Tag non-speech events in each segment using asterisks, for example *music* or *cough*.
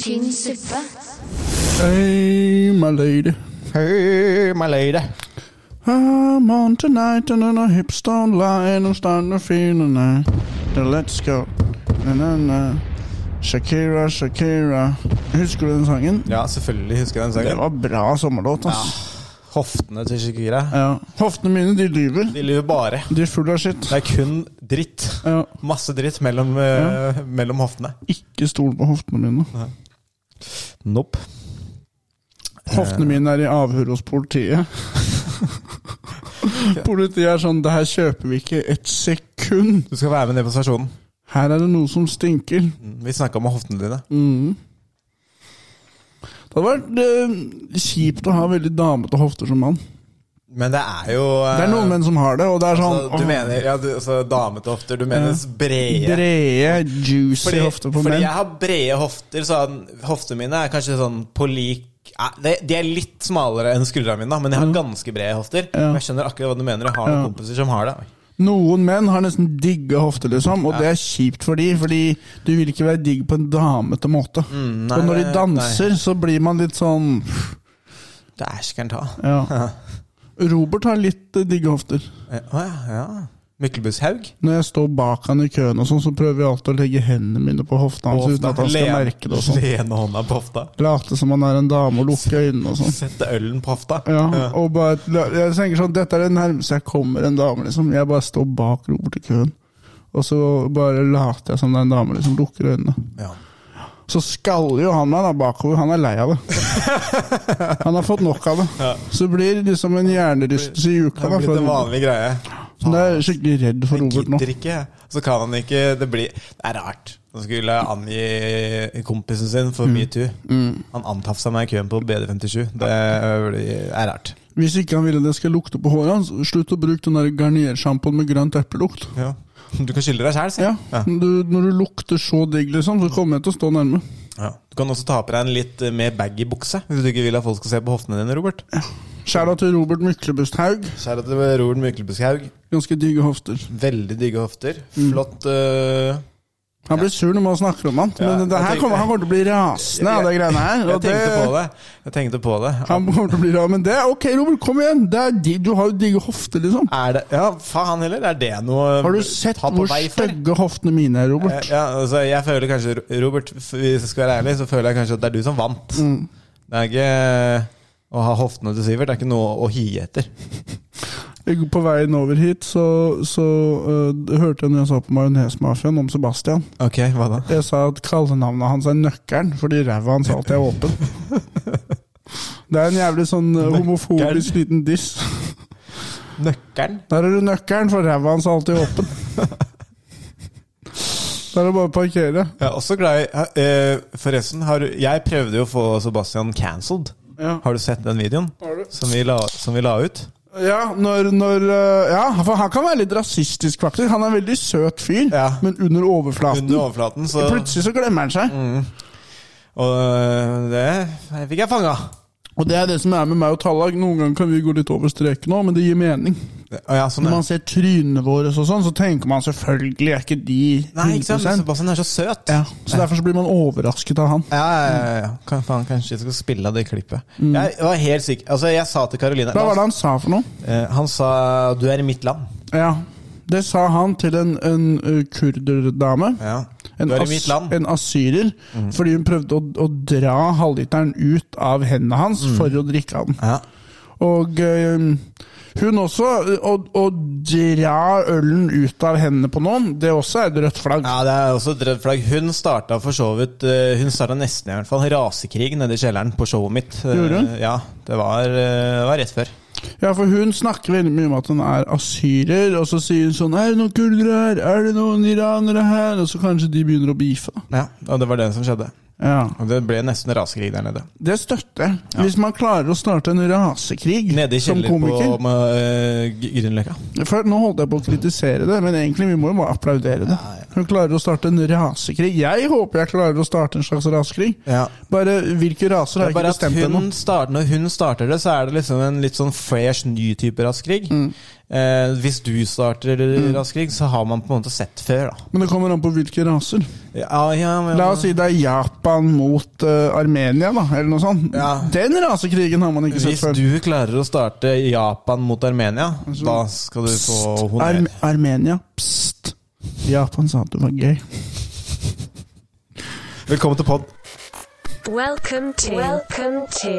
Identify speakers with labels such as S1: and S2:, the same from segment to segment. S1: tynn suppe.
S2: Hey, my lady.
S3: Hey, my lady.
S2: I'm on tonight and then I hips don't lie and I'm starting to feel it now. Now let's go. And then, uh, Shakira, Shakira. Husker du den sangen?
S3: Ja, selvfølgelig husker jeg den
S2: Det
S3: sangen.
S2: var bra sommerlåt, ass.
S3: Hoftene til Shakira.
S2: Ja. Hoftene mine, de lyver.
S3: De lyver bare.
S2: De er fulle av skitt.
S3: Det er kun dritt.
S2: Ja.
S3: Masse dritt mellom, eh, mellom hoftene.
S2: Ikke stol på hoftene mine.
S3: Nope.
S2: Hoftene mine er i avhør hos
S3: *laughs*
S2: politiet. Politiet er sånn Det her kjøper vi ikke et sekund.
S3: Du skal være med ned på stasjonen.
S2: Her er det noe som stinker.
S3: Vi snakka om hoftene dine.
S2: Det hadde vært eh, kjipt å ha veldig damete hofter som mann.
S3: Men det er jo eh,
S2: Det er noen menn som har det, og det er sånn
S3: altså, Du
S2: åh,
S3: mener ja, du, altså, damete hofter. Du mener brede.
S2: brede, juicy
S3: Fordi,
S2: hofter på
S3: fordi
S2: menn.
S3: jeg har brede hofter, så han- hoftene mine er kanskje sånn på lik ja, de, de er litt smalere enn skuldrene mine, da, men jeg
S2: Mm.
S3: har ganske brede hofter. Men Jeg skjønner akkurat hva du mener. Jeg har noen kompiser som har det.
S2: Noen menn har nesten digge hofter, liksom, og det er kjipt for de, fordi du vil ikke være digg på en damete måte.
S3: Mm, nei,
S2: og når de
S3: nei,
S2: danser, så blir man litt sånn
S3: Dæsken ta. *laughs*
S2: Ja. Robert har litt eh, digge hofter.
S3: Eh, Å ja. ja. Myklebusthaug.
S2: Når jeg står bak han i køen, og sånn, så prøver jeg alltid å legge hendene mine på hofta hans uten at han skal merke det. og sånn.
S3: Lene hånda på hofta.
S2: Late som han er en dame og lukke øynene og sånn.
S3: Sette ølen på hofta.
S2: Ja, og bare, jeg tenker sånn, Dette er det nærmeste jeg kommer en dame. liksom. Jeg bare står bak Robert i køen. Og så bare later jeg som det er en dame liksom, lukker øynene.
S3: Ja.
S2: Så skaller jo han meg da bakover. Han er lei *laughs* av det. Han har fått nok av det. Så det blir liksom en hjernerystelse i
S3: Det
S2: uka. da.
S3: har blitt en
S2: For,
S3: vanlig greie.
S2: så jeg er skikkelig redd for Robert nå.
S3: Gidder ikke. Så kan han ikke Det blir Det er rart. Han skulle angi kompisen sin
S2: Mm.
S3: for metoo. Han antafsa meg i køen på BD57. Det blir- er rart.
S2: Hvis ikke han ville det skal lukte på håret hans, slutt å bruke den der garniersjampoen med grønt eplelukt.
S3: Ja. Du kan skylde deg sjæl, si.
S2: Ja, du, Når du lukter så digg, liksom, så kommer jeg til å stå nærme.
S3: Ja. Du kan også ta på deg en litt eh, mer baggy bukse, hvis du ikke vil at folk skal se på hoftene dine, Robert.
S2: Skjæra til Robert Myklebusthaug.
S3: Kjære til Robert Myklebusthaug.
S2: Ganske digge hofter.
S3: Veldig digge hofter.
S2: Mm.
S3: Flott eh,
S2: Han blir sur når man snakker om han.
S3: Ja,
S2: Men det
S3: jeg
S2: her
S3: tenk-
S2: kommer, han kommer til å bli rasende av det greiene her.
S3: Jeg
S2: og
S3: tenkte
S2: det-
S3: på det. Jeg tenkte på det.
S2: Han kommer til å bli rar, men det er ok, Robert. Kom igjen! Det er di, du har jo digge hofter, liksom.
S3: Er det Ja, faen heller. Er det noe øh,
S2: Har du sett
S3: ta på
S2: hvor
S3: vei for?
S2: stygge hoftene mine er, Robert?
S3: Ja, altså, jeg føler kanskje, Robert, f- hvis jeg skal være ærlig, så føler jeg kanskje at det er du som vant.
S2: Mm.
S3: Det er ikke øh, å ha hoftene til Sivert er ikke noe å hie etter.
S2: Jeg- På veien over hit så, så øh, hørte jeg når jeg så på Majonesmafiaen om Sebastian.
S3: Ok, hva da?
S2: Jeg sa at kallenavnet hans er Nøkkelen, fordi ræva hans alltid er
S3: *laughs*
S2: åpen. Det er en jævlig sånn eh, homofobisk liten diss.
S3: Nøkkelen?
S2: Der er du nøkkelen, for ræva hans er alltid *laughs* åpen. Da er det bare å parkere.
S3: Jeg er også glad i eh, Forresten, har, du- jeg prøvde jo å få Sebastian cancelled.
S2: Ja.
S3: Har du sett den videoen
S2: Har du?
S3: som vi la, som vi la ut?
S2: Ja, når, når, eh, ja, for han kan være litt rasistisk, faktisk. Han er en veldig søt fyr,
S3: Ja.
S2: men under overflaten
S3: Under overflaten, så
S2: Plutselig så glemmer han seg.
S3: Mm. Og eh, det fikk jeg fanga.
S2: Og det er det som er med meg og Tallag. Noen ganger kan vi gå litt over streken òg, men det gir mening.
S3: Ja, sånn,
S2: Når
S3: ja.
S2: man ser trynene våre og sånn, så tenker man selvfølgelig er ikke de 100
S3: Nei, ikke sant? Sebastian er så søt.
S2: Ja, så derfor så blir man overrasket av han.
S3: Ja, ja, ja, ja. Kan, faen, kanskje jeg skal spille av det klippet. Jeg var helt sikker Altså, jeg sa til Karoline
S2: Mm. Hva var det han sa for noe?
S3: Eh, Han sa 'du er i mitt land'.
S2: Ja, det sa han til en, en ø, kurderdame. En,
S3: Du er i
S2: as-
S3: mitt land. Mhm.
S2: en asyrer. Fordi hun prøvde å, å dra halvliteren ut av hendene hans
S3: Mhm.
S2: for å drikke av den.
S3: Ja.
S2: Og ø, hun også. ø, Å, å dra ølen ut av hendene på noen, det også er et rødt flagg.
S3: ja, det er også et rødt flagg. Hun starta for så vidt eh, Hun starta nesten i hvert fall rasekrig nede i kjelleren på showet mitt. Eh,
S2: Gjorde hun?
S3: Ja, det var, eh, det var rett før.
S2: Ja, for hun snakker veldig mye om at hun er asyrer, og så sier hun sånn Er det noen kurdere her? Er det noen iranere her? Og så kanskje de begynner å beefe, da.
S3: Ja, Og det var det som skjedde.
S2: Ja.
S3: Og det ble nesten rasekrig der nede.
S2: Det støtter jeg. Hvis man klarer å starte en rasekrig
S3: Nede i
S2: som
S3: kjelleren på
S2: komiker.
S3: med, eh, Grünerløkka.
S2: For nå holdt jeg på å kritisere det, men egentlig vi må jo bare applaudere det. Hun klarer å starte en rasekrig. Jeg håper jeg klarer å starte en slags rasekrig.
S3: Ja.
S2: Bare hvilke raser har jeg
S3: Det er bare
S2: ikke
S3: at
S2: bestemt ennå. Mm.
S3: hun starter, Når hun starter det, så er det liksom en litt sånn fresh, ny type raskrig. eh, hvis du starter Rask krig, så har man på en måte sett før, da.
S2: Men det kommer an på hvilke raser.
S3: Ja, ja, men,
S2: La oss si det er Japan mot eh, Armenia, da, eller noe sånt.
S3: Ja.
S2: Den rasekrigen har man ikke sett
S3: Hvis
S2: før. Altså,
S3: du klarer å starte Japan mot Armenia, da skal du få honnør.
S2: Arm Armenia. Pst. Japan sa at det var gøy.
S3: Velkommen til pod.
S1: Welcome to. Welcome to.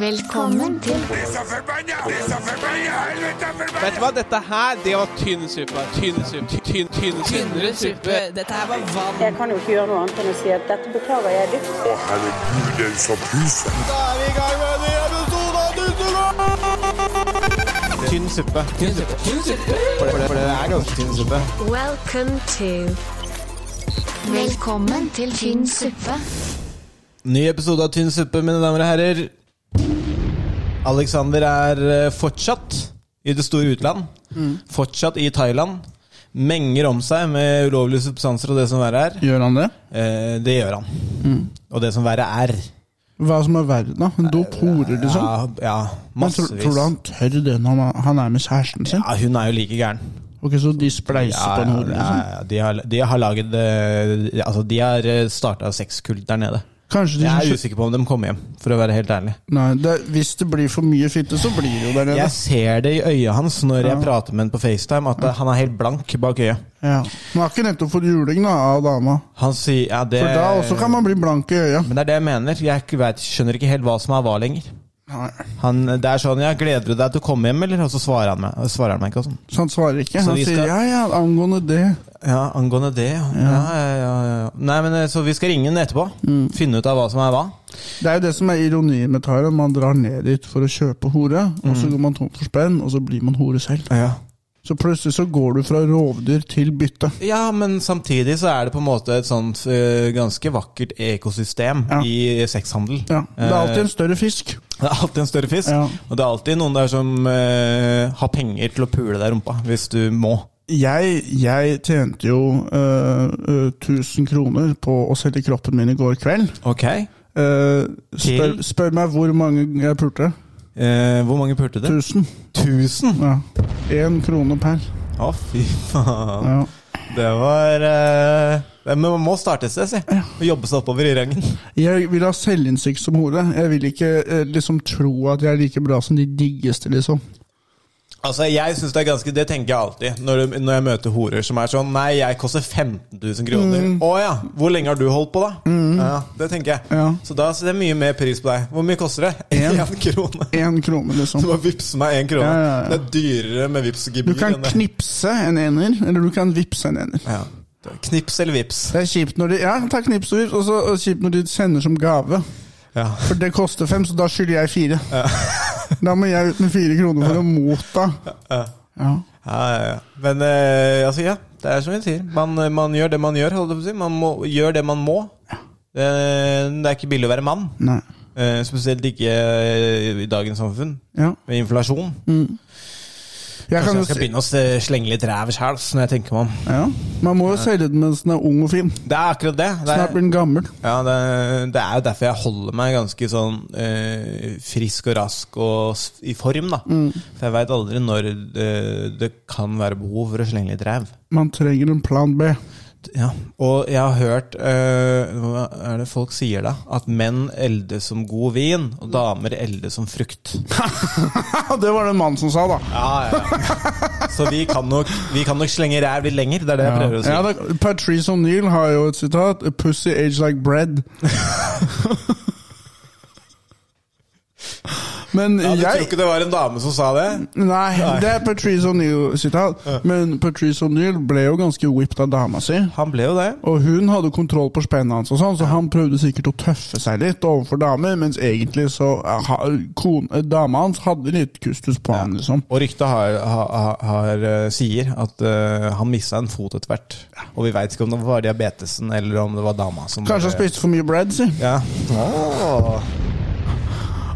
S1: Velkommen til.
S4: ¡Esa Fermaña! ¡Esa Fermaña! ¡Esa Fermaña!
S5: Vet du hva, dette her, det var tynn suppe. Tynn suppe. Tynn, tynn,
S6: Tynnere suppe. Dette her var vann.
S7: Jeg kan jo ikke gjøre noe annet enn å si at dette beklager jeg dypt.
S4: ¡Herregud, den som pyser!
S3: Tynn suppe.
S6: Tynn suppe. Tynn suppe.
S3: For det, for det er ganske tynn suppe.
S1: Welcome to. Velkommen til tynn suppe.
S3: Ny episode av Tynn suppe, mine damer og herrer. Alexander er eh, fortsatt i det store utland.
S2: Mm.
S3: Fortsatt i Thailand. Menger om seg med ulovlige substanser og det som verre er.
S2: Gjør han det?
S3: Eh, det gjør han.
S2: Mm.
S3: Og det som verre er.
S2: Hva som er verre, da? En dop horer, liksom?
S3: Ja, ja
S2: Men tror,
S3: massevis.
S2: tror du han tør det når han, han er med kjæresten sin?
S3: ja, hun er jo like gæren.
S2: Ok, Så de spleiser på en hore,
S3: ja,
S2: liksom?
S3: ja, de har, de har laget eh, Altså, de har starta sexkult der nede.
S2: Kanskje de
S3: Jeg er
S2: som
S3: usikker på om de kommer hjem, for å være helt ærlig.
S2: Nei, det, hvis det blir for mye fitte, så blir det jo der nede.
S3: Jeg ser det i øyet hans når jeg prater med han på FaceTime, at eh, han er helt blank bak øyet.
S2: Ja. Man har ikke nettopp fått juling da, av dama.
S3: Han sier ja, det
S2: For da også kan man bli blank i øya.
S3: Men det er det jeg mener. Jeg ikke vet, skjønner ikke helt hva som er hva lenger.
S2: Nei,
S3: Han, det er sånn ja, 'Gleder du deg til å komme hjem', eller? Og så svarer han meg, svarer han meg ikke. og sånn.
S2: Så han svarer ikke.
S3: Så
S2: Han
S3: vi
S2: sier
S3: skal-
S2: ja, ja, angående det.
S3: Ja, angående det, ja. ja. ja, ja, ja. Nei, men eh, Så vi skal ringe han etterpå.
S2: Mm.
S3: Finne ut av hva som er hva.
S2: Det er jo det som er ironien med Thailand. Man drar ned dit for å kjøpe hore, og
S3: Mm.
S2: så går man tom for spenn, og så blir man hore selv.
S3: Ja.
S2: Så plutselig så går du fra rovdyr til bytte.
S3: Ja, men samtidig så er det på en måte et sånt eh, ganske vakkert ekosystem
S2: Ja.
S3: i sexhandel.
S2: Ja, Det er alltid
S3: Eh,
S2: en større fisk.
S3: det er alltid en større fisk,
S2: Ja.
S3: og det er alltid noen der som eh, har penger til å pule deg i rumpa, hvis du må.
S2: Jeg, jeg tjente jo eh, eh, 1000 kroner på å selge kroppen min i går kveld.
S3: Ok.
S2: Eh, spør,
S3: Til?
S2: spør meg hvor mange jeg pulte.
S3: Eh, hvor mange pulte du?
S2: 1000.
S3: Tusen!
S2: Ja. Én krone per.
S3: Å, fy faen.
S2: Ja.
S3: Det var eh, Men man må starte et sted, si. Og jobbe seg oppover i rangen.
S2: Jeg vil ha selvinnsikt som hore. Jeg vil ikke eh, liksom tro at jeg er like bra som de diggeste, liksom.
S3: Altså, jeg synes Det er ganske, det tenker jeg alltid når, du, når jeg møter horer som er sånn Nei, jeg koster 15 000 kroner.
S2: Mm.
S3: Å ja, hvor lenge har du holdt på, da? Ja, det tenker jeg.
S2: Ja.
S3: Så da setter jeg mye mer pris på deg. Hvor mye koster det?
S2: En.
S3: *laughs* Én krone.
S2: Én krone,
S3: Du
S2: liksom.
S3: bare vipser meg én krone.
S2: Ja, ja, ja.
S3: Det er dyrere
S2: Du
S3: med vipsgebyr.
S2: kan
S3: enn det.
S2: knipse en ener, eller du kan vippse en ener.
S3: Ja. Det er Knips eller vips?
S2: Det er kjipt når de Ja, ta knips og vips, og så og kjipt når de sender som gave.
S3: Ja.
S2: For det koster fem, så da skylder jeg fire. da må jeg ut med fire kroner for å motta. Ja.
S3: Ja, ja, ja. Men eh, altså, ja, det er som vi sier. Man, man gjør det man gjør. Holdt jeg på å si. Man må, gjør det man må. Eh, det er ikke billig å være mann.
S2: Nei.
S3: Eh, spesielt ikke eh, i dagens samfunn,
S2: Ja.
S3: med inflasjon.
S2: Jeg
S3: Kanskje
S2: kan jo
S3: jeg skal
S2: si
S3: begynne å s- slenge litt ræv sjæl, ass, når jeg tenker meg om.
S2: ja. Man må jo selge den mens den er ung og fin.
S3: Det er akkurat det. Det
S2: Snart
S3: er,
S2: blir den gammel.
S3: ja, det, det er jo derfor jeg holder meg ganske sånn eh, frisk og rask og s- i form, da.
S2: Mm.
S3: For jeg veit aldri når eh, det kan være behov for å slenge litt ræv.
S2: Man trenger en plan B.
S3: Ja, og jeg har hørt eh, Hva er det folk sier da? At menn eldes som god vin, og damer eldes som frukt.
S2: Ja, det var det en mann som sa, da.
S3: Ja, ja. Så vi kan nok, vi kan nok slenge ræv litt lenger, det er det jeg prøver å si.
S2: Ja, da, Patrice O'Neill har jo et sitat A pussy age like *laughs* bread. Men
S3: Ja, du tror
S2: jeg
S3: ikke det var en dame som sa det?
S2: Nei, det er Patrice O'Neill-sitat. Men Patrice O'Neill ble jo ganske whipped av dama si.
S3: Han ble jo det.
S2: Og hun hadde kontroll på spennet hans, og sånn, så han prøvde sikkert å tøffe seg litt overfor damer, mens egentlig så eh, ha, kone, dama hans hadde litt kustus på han, liksom.
S3: Og ryktet har, har, har, eh, sier at eh, han mista en fot etter hvert. Og vi veit ikke om det var diabetesen eller om det var dama som
S2: Kanskje han
S3: bare-
S2: spiste Ah. for mye bread, si.
S3: Ja.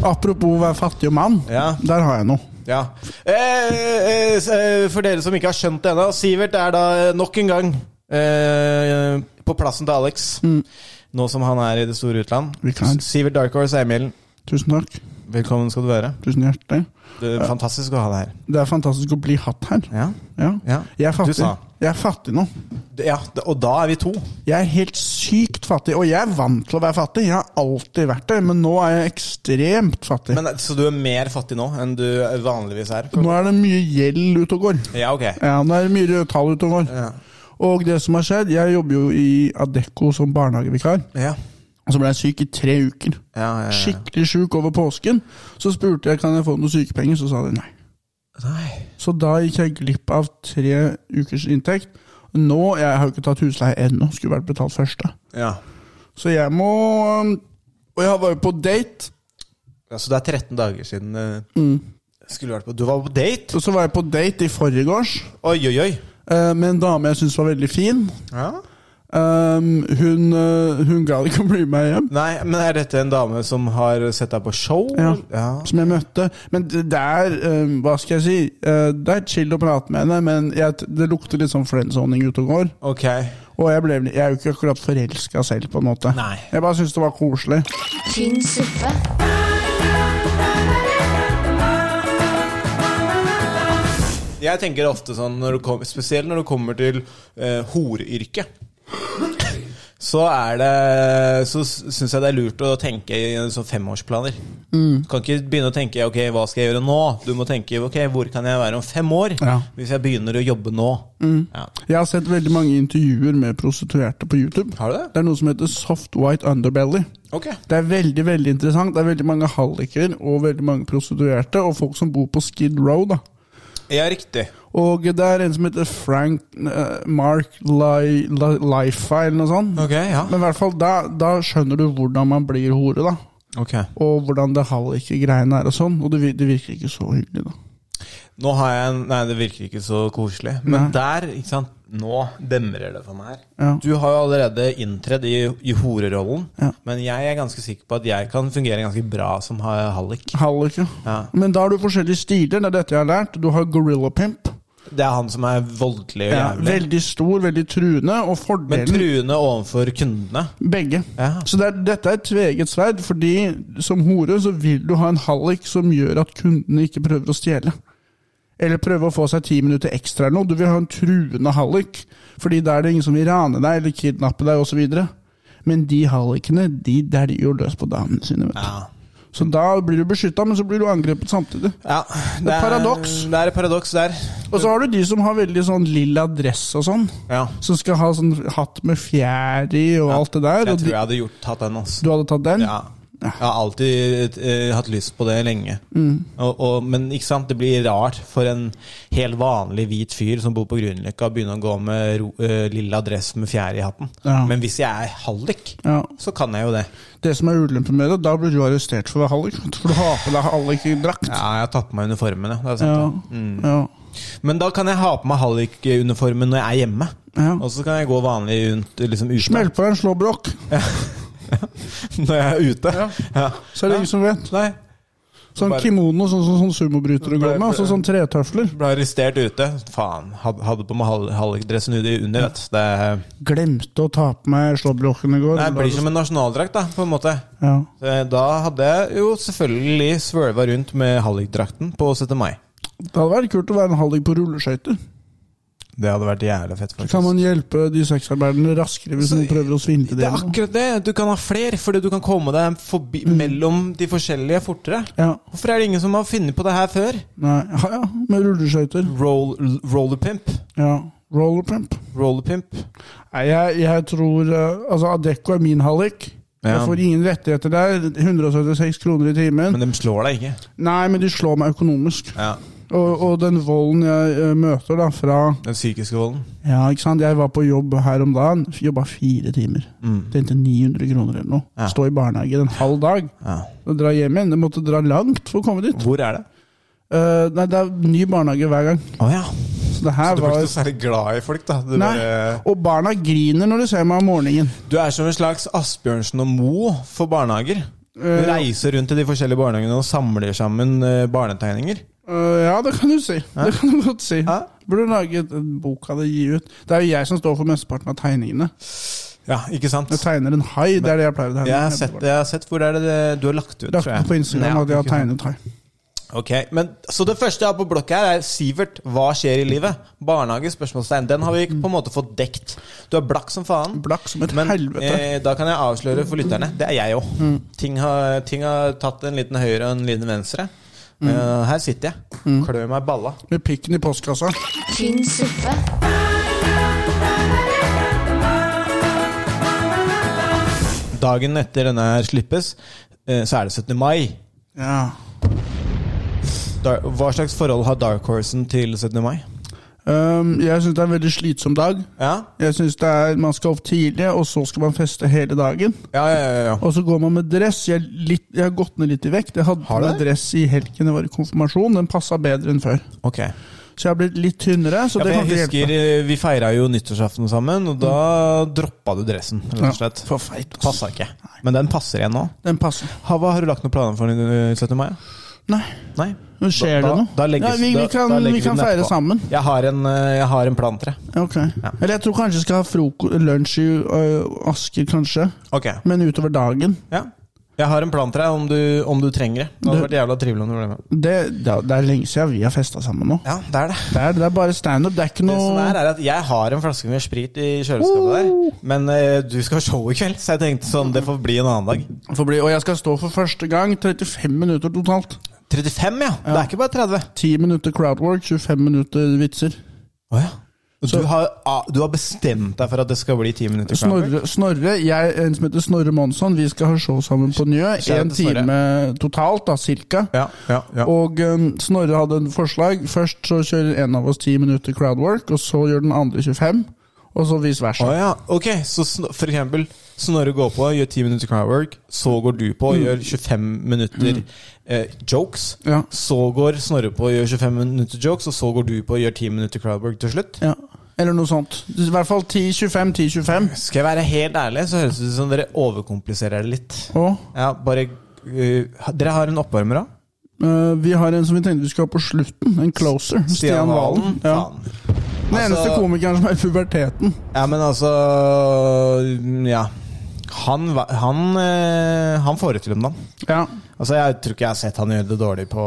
S2: Apropos å være fattig og mann.
S3: Ja.
S2: Der har jeg noe.
S3: Ja. Eh, eh, s- eh, for dere som ikke har skjønt det ennå, Sivert er da eh, nok en gang eh, på plassen til Alex. Nå som han er i det store utland.
S2: Mm. Vi kan.
S3: S- Sivert Dark Horse er Emil.
S2: Tusen takk.
S3: Velkommen skal du være.
S2: Tusen hjertelig.
S3: Det er fantastisk å ha deg her.
S2: Det er fantastisk å bli hatt her.
S3: Ja,
S2: Ja.
S3: ja.
S2: Jeg er
S3: Du
S2: fattig.
S3: sa.
S2: Jeg er fattig nå.
S3: Det- ja det- og da er vi to.
S2: Jeg er helt sykt fattig, og jeg er vant til å være fattig. Jeg har alltid vært det, men nå er jeg ekstremt fattig.
S3: Men, eh, så du er mer fattig nå enn du eh, vanligvis er?
S2: nå er det mye gjeld ute og går.
S3: Ja, ok.
S2: Ja, nå er det mye røde tall ute og går.
S3: Ja.
S2: Og det som har skjedd, jeg jobber jo i Adecco som barnehagevikar.
S3: Ja.
S2: Og så ble jeg syk i tre uker.
S3: Ja, ja, ja.
S2: Skikkelig sjuk over påsken. Så spurte jeg kan jeg få noen sykepenger, så sa de nei.
S3: Nei.
S2: Så da gikk jeg glipp av tre ukers inntekt. Nå, Jeg har jo ikke tatt husleie ennå, skulle vært betalt første.
S3: Ja.
S2: Så jeg må um, Og jeg var jo på date.
S3: Ja, så det er 13 dager siden eh,
S2: Mm.
S3: skulle vært på. Du var på date?
S2: Og så var jeg på date i forgårs
S3: Oi, oi, oi.
S2: eh, med en dame jeg syntes var veldig fin.
S3: Ja.
S2: Um, hun, eh, hun ga det ikke å bli med meg hjem,
S3: Nei, men er dette en dame som har sett deg på show?
S2: Ja.
S3: ja.
S2: som jeg møtte. Men det det er eh, Hva skal jeg si? Eh, det er chill å prate med henne, men jeg, det lukter litt sånn friendzoning ute og går.
S3: Ok.
S2: Og jeg, ble, jeg er jo ikke akkurat forelska selv, på en måte.
S3: Nei.
S2: Jeg bare syns det var koselig.
S1: Tynn suppe.
S3: Jeg tenker ofte sånn, når du kom, spesielt når du kommer til eh, horeyrket. Så er det Så syns jeg det er lurt å tenke i sånn femårsplaner.
S2: Mm.
S3: Du kan ikke begynne å tenke Ok, hva skal jeg gjøre nå. Du må tenke ok, hvor kan jeg være om fem år.
S2: Ja. Mm.
S3: Hvis jeg begynner å jobbe nå. Ja.
S2: Jeg har sett veldig mange intervjuer med prostituerte på YouTube.
S3: Har du det?
S2: Det er noe som heter soft white underbelly.
S3: Ok.
S2: Det er veldig veldig interessant. Det er veldig mange halliker og veldig mange prostituerte, og folk som bor på Skid Row. da.
S3: Ja, riktig.
S2: Og det er en som heter Frank eh, Mark Li, Li, Lifa, eller noe sånt.
S3: Ok, ja.
S2: Men i hvert fall, da, da skjønner du hvordan man blir hore, da.
S3: Ok.
S2: Og hvordan det halliker-greiene er og sånn. Og det, vir- det virker ikke så hyggelig, da.
S3: Nå har jeg en Nei, det virker ikke så koselig. Men
S2: Nei.
S3: der, ikke sant Nå demrer det for meg her.
S2: Ja.
S3: Du har jo allerede inntredd i, i horerollen,
S2: Ja.
S3: men jeg er ganske sikker på at jeg kan fungere ganske bra som ha- hallik.
S2: Halliker.
S3: Ja.
S2: Men da har du forskjellige stiler. Det er dette jeg har lært. Du har gorilla pimp.
S3: Det er han som er voldelig og
S2: Ja,
S3: jævlig.
S2: veldig stor, veldig truende. Og
S3: men
S2: fordelen
S3: truende overfor kundene.
S2: Begge.
S3: Ja.
S2: Så det er, dette er et tveget sverd, fordi som hore så vil du ha en hallik som gjør at kundene ikke prøver å stjele. Eller prøve å få seg ti minutter ekstra eller noe. Du vil ha en truende hallik, fordi da er det ingen som vil rane deg eller kidnappe deg osv. Men de hallikene, de dæljer jo løs på damene sine, vet du.
S3: Ja.
S2: Så da blir du beskytta, men så blir du angrepet samtidig.
S3: ja
S2: Det er paradoks.
S3: Det er et paradoks der.
S2: Og så har du de som har veldig sånn lilla dress og sånn.
S3: Ja.
S2: Som skal ha sånn hatt med fjær i og alt det der.
S3: Jeg
S2: Og
S3: tror
S2: de,
S3: jeg hadde gjort, tatt den, altså.
S2: du hadde tatt den?
S3: Ja. Jeg har alltid eh, hatt lyst på det lenge.
S2: Mm.
S3: Og, og, men ikke sant, det blir rart for en helt vanlig hvit fyr som bor på Grünerløkka, å begynne å gå med ro, eh, lilla dress med fjær i hatten.
S2: Ja.
S3: Men hvis jeg er hallik,
S2: ja.
S3: så kan jeg jo det.
S2: Det som er ulempen med det, da blir du arrestert for å være hallik. For du har på deg hallikdrakt.
S3: Ja, jeg har tatt på meg uniformen, ja. Det er sant,
S2: Ja.
S3: ja.
S2: ja.
S3: Men da kan jeg ha på meg hallikuniformen når jeg er hjemme.
S2: Ja.
S3: Og så kan jeg gå vanlig rundt liksom ute.
S2: Smell på deg en slåbrok,
S3: *laughs* Når jeg er ute.
S2: Ja.
S3: Ja.
S2: så er det ingen som vet.
S3: Nei,
S2: Sånn
S3: Bare-
S2: kimono, sånn som sånn, sumobrytere går med, og så sånn tretøfler.
S3: ble arrestert ute. Faen, had- hadde på meg hall- hallikdressen under, vet du. Det er...
S2: Glemte å ta på meg slåbroken i går.
S3: Nei, det blir som en nasjonaldrakt, da, på en måte.
S2: ja.
S3: Eh, Da hadde jeg jo selvfølgelig svølva rundt med hallikdrakten på 17. mai.
S2: Det hadde vært kult å være en hallik på rulleskøyter.
S3: Det hadde vært jævlig fett,
S2: Så kan man hjelpe de sexarbeiderne raskere hvis noen prøver å svindle
S3: det er
S2: dem.
S3: akkurat det! Du kan ha flere, fordi du kan komme deg forbi, mellom de forskjellige fortere.
S2: Mm. Ja.
S3: Hvorfor er det ingen som har funnet på det her før?
S2: Nei, ja, ja, med rulleskøyter.
S3: Roll, rollerpimp.
S2: Ja. Rollerpimp.
S3: Rollerpimp.
S2: Nei, jeg, jeg tror eh, Altså, Adecco er min hallik.
S3: Ja.
S2: Jeg får ingen rettigheter der. 176 kroner i timen.
S3: Men de slår deg ikke.
S2: Nei, men de slår meg økonomisk.
S3: Ja,
S2: Og, og den volden jeg eh, møter da fra
S3: Den psykiske volden.
S2: Ja, ikke sant. Jeg var på jobb her om dagen. f- Jobba fire timer. Tjente 900 kroner eller noe.
S3: Mm. Ja.
S2: Stå i barnehage en halv dag.
S3: Ja.
S2: Og dra hjem igjen. Jeg måtte dra langt for å komme dit.
S3: Hvor er det?
S2: Eh, nei, det er ny barnehage hver gang.
S3: Å ja.
S2: Så det her
S3: Du blir
S2: var
S3: ikke så særlig glad i folk, da. Du,
S2: Nei.
S3: bare...
S2: Og barna griner når de ser meg om morgenen.
S3: du er som en slags Asbjørnsen og Moe for barnehager. Du
S2: Eh,
S3: reiser rundt til de forskjellige barnehagene og samler sammen eh, barnetegninger.
S2: Øh, ja, det kan du si. Det kan du godt si.
S3: Ja.
S2: Burde lage en bok av det, gi ut. Det er jo jeg som står for mesteparten av tegningene.
S3: Ja, ikke sant?
S2: Jeg tegner en hai. Det er det jeg pleier å tegne.
S3: Jeg har sett, jeg har sett hvor er det det du har lagt ut,
S2: Lagt det på Instagram at jeg har tegnet hai.
S3: Ok, men Så det første jeg har på blokka her, er Sivert. Hva skjer i livet? Barnehage? spørsmålstegn Den har vi på en måte fått dekt. Du er blakk som faen.
S2: Mm. Blakk som et
S3: men
S2: helvete. Mm.
S3: eh, da kan jeg avsløre for lytterne. Det er jeg òg. Ting, har- ting har tatt en liten høyre og en liten venstre.
S2: Mm.
S3: Eh, her sitter jeg. Klør meg i balla.
S2: Med pikken i postkassa.
S1: tynn suppe,
S3: Dagen etter denne her slippes, eh, så er det 17. mai.
S2: Ja.
S3: Da, hva slags forhold har Dark Horsen til 17. mai?
S2: Um, jeg syns det er en veldig slitsom dag.
S3: Ja,
S2: Jeg synes det er, Man skal opp tidlig, og så skal man feste hele dagen.
S3: ja, ja, ja, ja.
S2: Og så går man med dress. Jeg, er litt, jeg har gått ned litt i vekt. Jeg hadde
S3: Har du
S2: med
S3: det?
S2: dress i helgen jeg var i konfirmasjon. Den passa bedre enn før.
S3: Ok
S2: Så jeg har blitt litt tynnere. Så
S3: ja, for
S2: det kan
S3: Jeg
S2: ikke
S3: husker
S2: hjelpe. Mm.
S3: eh, vi feira jo nyttårsaften sammen, og da droppa du dressen. rett og slett
S2: for feit. ass.
S3: Passa ikke. Men den passer igjen nå.
S2: Den passer.
S3: Ha, hva Har du lagt noen planer for eh, 17. mai?
S2: Nei,
S3: Nei?
S2: nå skjer
S3: da,
S2: det noe.
S3: Da legges,
S2: ja, vi, vi
S3: da-
S2: kan,
S3: da legger
S2: vi kan
S3: den
S2: feire
S3: etterpå.
S2: sammen.
S3: Jeg har en, eh, jeg har en plan til det.
S2: Ok. Eller jeg tror kanskje jeg skal ha froko lunsj i ø, Asker, kanskje.
S3: Ok,
S2: Men utover dagen.
S3: ja Jeg har en plan til deg om du, om du trenger det. Det hadde
S2: Du-
S3: vært jævla trivelig om du ble med.
S2: Det, det, er- det er lenge siden vi har festa sammen nå.
S3: Ja, det er det.
S2: Det er, det er bare standup. Det er ikke
S3: Det som
S2: noe
S3: er, er at jeg har en flaske med sprit i kjøleskapet der, men eh, du skal ha show i kveld, så jeg tenkte sånn, det får bli en annen dag.
S2: Får bli- Og jeg skal stå for første gang. 35 minutter totalt.
S3: 35, ja. Det er ikke bare 30.
S2: 10 minutter crowdwork, 25 minutter vitser.
S3: Å ja. Du har, ah, du har bestemt deg for at det skal bli ti minutter framover?
S2: Snorre, Snorre jeg, en som heter Snorre Monsson, vi skal ha show sammen på Njø.
S3: Shout
S2: En
S3: til Snorre.
S2: time totalt, da, cirka.
S3: Ja, ja, ja.
S2: Og øhm, Snorre hadde en forslag. Først så kjører en av oss 10 minutter crowdwork, og så gjør den andre 25. Og så vice versa.
S3: Å ja, ok. Så sn- for eksempel Snorre går på, gjør 10 minutter crowdwork. Så går du på, gjør 25 minutter eh, jokes.
S2: Ja.
S3: Så går Snorre på, gjør 25 minutter jokes, og så går du på, gjør 10 minutter crowdwork til slutt.
S2: Ja. Eller noe sånt. I hvert fall 10-25, 10-25.
S3: Skal jeg være helt ærlig, så høres det ut som dere overkompliserer det litt.
S2: Og
S3: Ja, bare eh, ha- Dere har en oppvarmer òg?
S2: øh, vi har en som vi tenkte vi skulle ha på slutten. En closer. Stian Valen. Ja.
S3: Faen.
S2: Den eneste
S3: Altså-
S2: komikeren som er i puberteten.
S3: Ja, men altså Ja. Han, va- han, eh, han får det til om dagen.
S2: Ja.
S3: Altså, jeg tror ikke jeg har sett han gjøre det dårlig på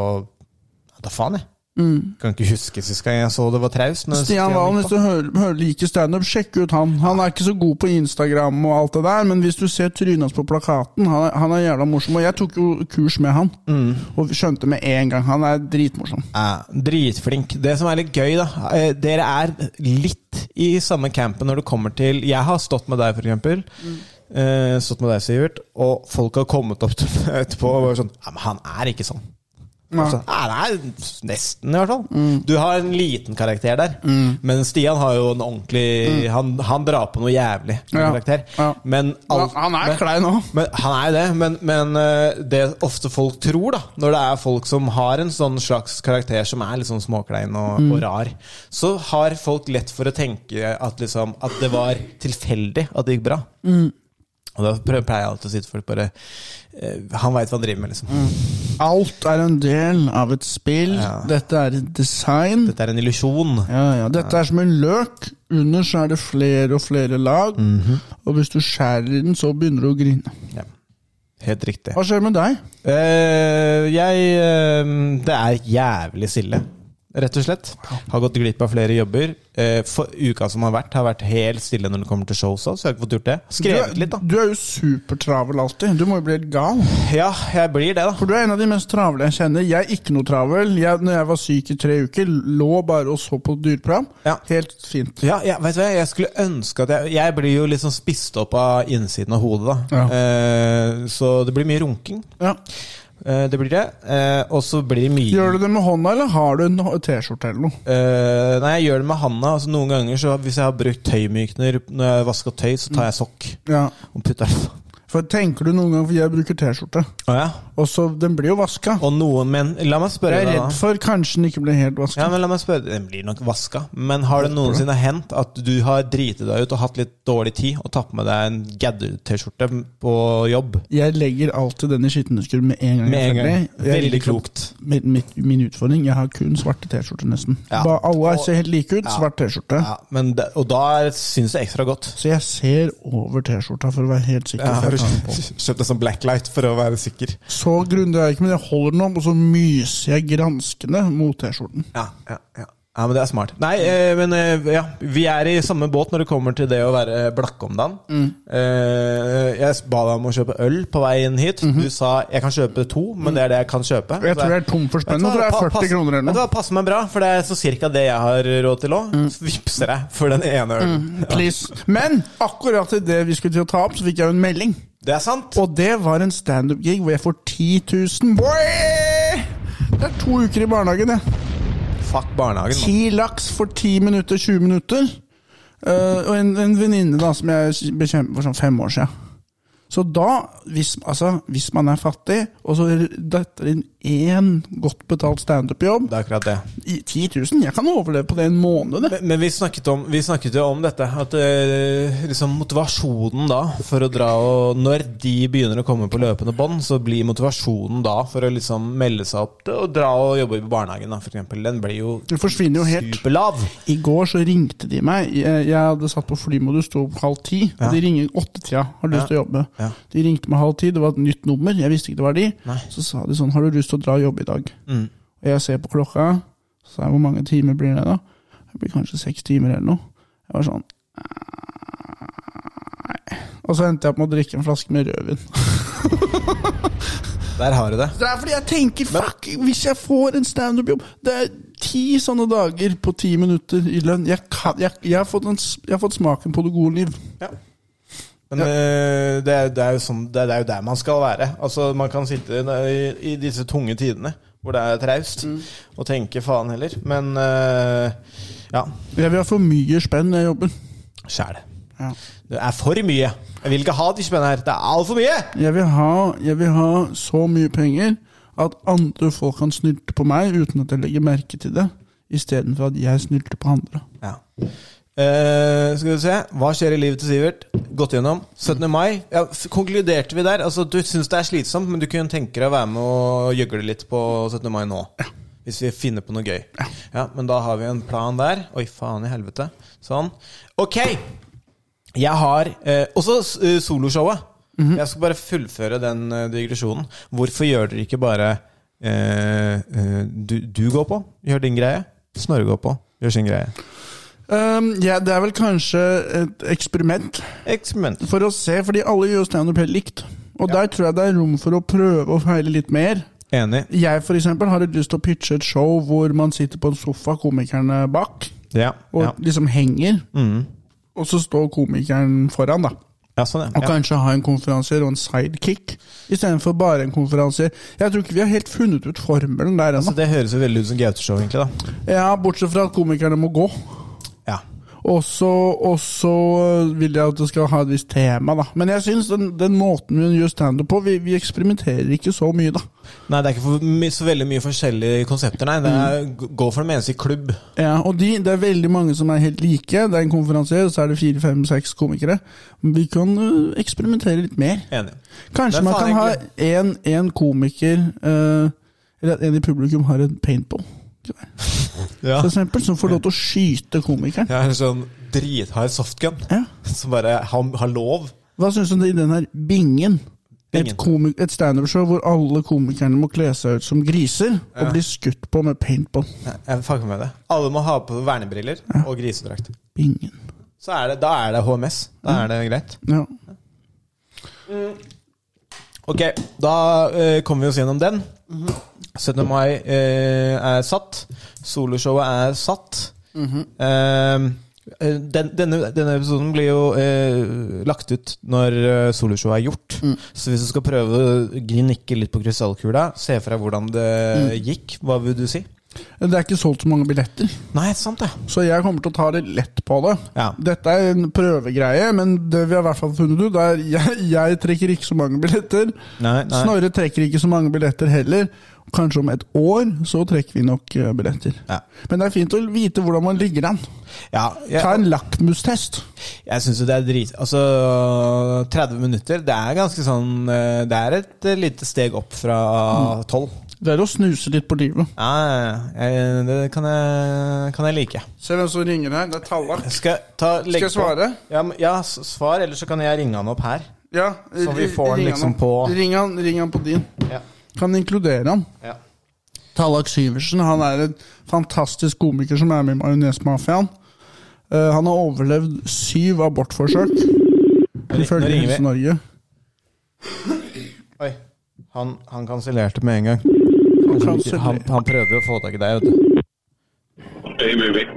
S3: Ja, Da faen, jeg. Kan ikke huske sist gang jeg så det var traust. men
S2: Mm. Stian Valen, hvis du hører, hører liker standup, sjekk ut han. Han er ikke så god på Instagram og alt det der, men hvis du ser trynet hans på plakaten, han er, han er jævla morsom. Og jeg tok jo kurs med han,
S3: Mm.
S2: og skjønte med en gang. Han er dritmorsom.
S3: Ja, dritflink. Det som er litt gøy, da eh, Dere er litt i samme campen når det kommer til Jeg har stått med deg, for eksempel.
S2: Mm.
S3: Eh, stått med deg, Sivert. Og folk har kommet opp til meg etterpå og vært sånn Ja, men han er ikke sånn. Altså, ja, det er nesten, i hvert fall.
S2: Mm.
S3: Du har en liten karakter der. Men Stian har jo en ordentlig han, han drar på noe jævlig
S2: Mm. Ja.
S3: karakter.
S2: Ja.
S3: Men alt-
S2: Han er
S3: men-
S2: klein òg.
S3: men han er jo det, men, men eh, det ofte folk tror, da, når det er folk som har en sånn slags karakter som er litt sånn småklein og, og rar, så har folk lett for å tenke at, liksom, at det var tilfeldig at det gikk bra. Og da prø- pleier jeg alltid å si til folk bare eh, Han veit hva han driver med, liksom.
S2: Alt er en del av et spill. Dette er et design.
S3: Dette er en illusjon.
S2: Ja, ja. Dette er som en løk. Under så er det flere og flere lag.
S3: Mhm.
S2: Og hvis du skjærer i den, så begynner du å grine.
S3: Ja. Helt riktig.
S2: Hva skjer med deg?
S3: Eh, jeg eh, Det er jævlig stille, rett og slett. Har gått glipp av flere jobber. Eh, for uka som har vært, har vært helt stille når det kommer til shows. også, Så jeg har ikke fått gjort det.
S2: du,
S3: Skrevet
S2: er-
S3: litt, da.
S2: Du er jo supertravel alltid. Du må jo bli helt gal.
S3: Ja, jeg blir det, da.
S2: For du er en av de mest travle jeg kjenner. Jeg er ikke noe travel. Jeg, når jeg var syk i tre uker, lå bare og så på dyreprogram.
S3: Ja.
S2: Helt fint.
S3: Ja, ja, vet du hva, Jeg skulle ønske at jeg Jeg blir jo liksom spist opp av innsiden av hodet, da.
S2: Ja.
S3: Eh, så det blir mye runking.
S2: Ja.
S3: Eh, det blir det. Eh, og så blir det mye
S2: Gjør du det med hånda, eller har du en hå- T-skjorte eller noe?
S3: Eh, nei, jeg gjør det med handa. Altså, noen ganger så Hvis jeg har brukt tøymykner når jeg har vaska tøy, så tar jeg sokk
S2: Ja.
S3: og putter den på.
S2: For tenker du noen gang For jeg bruker T-skjorte.
S3: Å ja.
S2: Og så, Den blir jo vaska.
S3: Og noen menn La meg spørre
S2: Jeg er
S3: deg,
S2: redd
S3: da.
S2: for kanskje den ikke blir helt
S3: Ja,
S2: vaska.
S3: men la meg spørre Den blir nok vaska, men har det noensinne hendt at du har driti deg ut og hatt litt dårlig tid og tatt med deg en gadder-T-skjorte på jobb?
S2: Jeg legger alltid den i skitneskurven med en gang.
S3: Med en gang.
S2: jeg er ferdig. Jeg
S3: Veldig
S2: liker-
S3: klokt.
S2: Min, mitt- min utfordring Jeg har kun svarte T-skjorter, nesten.
S3: Ja.
S2: Bare alle ser helt like ut. Svart T-skjorte.
S3: Ja, men det, og da syns det ekstra godt.
S2: Så jeg ser over T-skjorta for å være helt sikker. før jeg tar den
S3: *laughs*
S2: på.
S3: kjøpt en sånn blacklight for å være sikker?
S2: Så grundig er jeg ikke, men jeg holder den opp, og så myser jeg granskende mot T-skjorten.
S3: Ja, ja, ja. ja, men det er smart. Nei, eh, men eh, ja, vi er i samme båt når det kommer til det å være blakke om dagen.
S2: Mm.
S3: Eh, jeg ba deg om å kjøpe øl på vei inn hit. Du sa jeg kan kjøpe to, men det er det jeg kan kjøpe.
S2: Mhm. Jeg
S3: Så
S2: tror jeg er tom for spenn. Nå
S3: Vet
S2: tror
S3: du hva,
S2: jeg det er 40
S3: pa- pass-
S2: kroner eller
S3: Vet du
S2: noe. Mm.
S3: hva, passer meg bra, for det er så cirka det jeg har råd til òg. Så vipser jeg for den ene ølen.
S2: Please. Men akkurat i det vi skulle til å ta opp, så fikk jeg jo en melding.
S3: Det er sant.
S2: Og det var en standup-gig hvor jeg får 10 000. Boy! Det er to uker i barnehagen, det.
S3: Fuck barnehagen. mann.
S2: Ti laks for 10 minutter, 20 minutter. Eh, og en, en venninne da, som jeg ble kjent med for sånn fem år siden. Så da, hvis, altså, hvis man er fattig, og så detter inn én godt betalt standup-jobb
S3: Det er akkurat det.
S2: I 10 000? Jeg kan overleve på det en måned. det.
S3: Men, men vi, snakket om, vi snakket jo om dette. At eh, liksom motivasjonen da for å dra og Når de begynner å komme på løpende bånd, så blir motivasjonen da for å liksom melde seg opp til å dra og jobbe i barnehagen, da, for eksempel. Den blir jo
S2: Det forsvinner jo helt.
S3: superlav.
S2: I går så ringte de meg. Jeg, jeg hadde satt på flymodus, sto opp halv ti. Og de ringer åttetida, har lyst til å jobbe.
S3: Ja.
S2: De ringte meg halv ti, det var et nytt nummer. Jeg visste ikke det var de.
S3: Nei. Mm.
S2: Så sa de sånn, har du lyst til å dra og jobbe i dag? Og jeg ser på klokka, så sa jeg hvor mange timer blir det da? Det blir kanskje seks timer eller noe. Jeg var sånn, nei. Og så endte jeg opp med å drikke en flaske med rødvin.
S3: Der har du det.
S2: Det er fordi jeg tenker fuck, hvis jeg får en standup-jobb Det er ti sånne dager på ti minutter i lønn. Jeg, kan, jeg, jeg, har fått en, s- jeg har fått smaken på det gode liv.
S3: Men eh, det, er- det, er jo sånn, det, er- det er jo der man skal være. Altså, man kan sitte i, i disse tunge tidene hvor det er traust,
S2: Mm.
S3: og tenke faen heller. Men eh, ja.
S2: Jeg vil ha for mye spenn når jeg jobber.
S3: Sjæl.
S2: Ja.
S3: Det er for mye. Jeg vil ikke ha de spennene her. Det er altfor mye!
S2: Jeg, vil ha, jeg vil ha så mye penger at andre folk kan snylte på meg uten at jeg legger merke til det, istedenfor at jeg snylter på andre.
S3: Ja. Eh, skal vi se. Hva skjer i livet til Sivert? Gått gjennom. 17. mai. Ja, f- konkluderte vi der? Altså, du syns det er slitsomt, men du kunne tenke deg å være med og gjøgle litt på 17. mai nå? Hvis vi finner på noe gøy. Ja, Men da har vi en plan der. Oi, faen i helvete. Sånn. Ok! Jeg har eh, også s- eh, soloshowet. Jeg skal bare fullføre den eh, digresjonen. Hvorfor gjør dere ikke bare eh, eh, du, du går på, gjør din greie. Snorre går på, gjør sin greie.
S2: Um, ja, det er vel kanskje et eksperiment
S3: Eksperiment.
S2: for å se, fordi alle gjør standup helt likt. Og der tror jeg det er rom for å prøve å feile litt mer.
S3: Enig.
S2: Jeg for eksempel har litt lyst til å pitche et show hvor man sitter på en sofa, komikerne bak,
S3: Ja.
S2: og
S3: Ja, Mm.
S2: liksom henger. Og så står komikeren foran, da.
S3: ja sånn,
S2: Og
S3: ja. ja.
S2: kanskje ha en konferansier og en sidekick, istedenfor bare en konferansier. Jeg tror ikke vi har helt funnet ut formelen der
S3: Altså,
S2: ennå.
S3: det høres jo veldig ut som Gaute-show, egentlig. da
S2: Ja, bortsett fra at komikerne må gå.
S3: Ja.
S2: Og så og så vil jeg at det skal ha et visst tema, da. Men jeg syns den, den måten vi gjør standup på, vi, vi eksperimenterer ikke så mye, da.
S3: Nei, det er ikke for, my- så veldig mye forskjellige konsepter, nei. Det er
S2: Mm.
S3: g- gå for dem eneste i klubb.
S2: Ja, og de, det er veldig mange som er helt like. Det er en konferansier, så er det fire, fem, seks komikere. Vi kan øh, eksperimentere litt mer.
S3: Enig.
S2: Kanskje
S3: Men
S2: man
S3: faen,
S2: kan ha én én komiker øh, Eller at en i publikum har en paintball,
S3: Ja.
S2: for eksempel, som får lov til å skyte komikeren.
S3: Jeg har en sånn drithard softgun
S2: Ja.
S3: som bare har, har lov.
S2: Hva syns du om det i den her bingen? Et,
S3: Bingen.
S2: komik- et standup-show hvor alle komikerne må kle seg ut som griser og bli skutt på med paintball.
S3: Nei, Jeg fucker med det. Alle må ha på vernebriller og grisedrakt.
S2: Bingen.
S3: Så er det, da er det HMS.
S2: Mm.
S3: Da er det greit.
S2: Ja.
S3: Ok, da eh, kommer vi oss gjennom den. 17. mai eh, er satt. Soloshowet er satt. Eh, eh, den, denne, denne episoden blir jo eh, lagt ut når eh, soloshowet er gjort. Så hvis du skal prøve å gnikke litt på krystallkula, se for deg hvordan det gikk, hva vil du si?
S2: Det er ikke solgt så mange billetter,
S3: Nei, sant det.
S2: så jeg kommer til å ta litt lett på det.
S3: Ja.
S2: Dette er en prøvegreie, men det vi har i hvert fall funnet ut, er *laughs* jeg, jeg trekker ikke så mange billetter.
S3: Nei, nei.
S2: Snorre trekker ikke så mange billetter heller. Kanskje om et år så trekker vi nok eh, billetter.
S3: Ja.
S2: Men det er fint å vite hvordan man ligger an.
S3: Ja, jeg,
S2: Ta en lakmustest.
S3: Jeg syns jo det er drit... Altså, 30 minutter, det er ganske sånn eh, Det er et eh, lite steg opp fra 12.
S2: Det er å snuse litt på livet.
S3: Ja, ja, ja. Jeg- det kan jeg, kan jeg like.
S2: Se hvem som ringer her. Det er Tallak.
S3: Skal jeg, ta, legge
S2: jeg svare?
S3: På? Ja, men- ja, s- svar, eller så kan jeg ringe han opp her.
S2: Ja,
S3: Så vi får den
S2: ring
S3: liksom
S2: han.
S3: på-
S2: Ring han, ring han på din.
S3: Ja.
S2: Kan inkludere han.
S3: Ja.
S2: Tallak Syversen han er en fantastisk komiker som er med i Majonesmafiaen. Eh, han har overlevd syv abortforsøk, ifølge
S3: ringer vi.
S2: Helse Norge.
S3: Oi. Han, han kansellerte med en gang.
S2: Kansellerte.
S3: Han, han prøver å få tak i deg, vet du.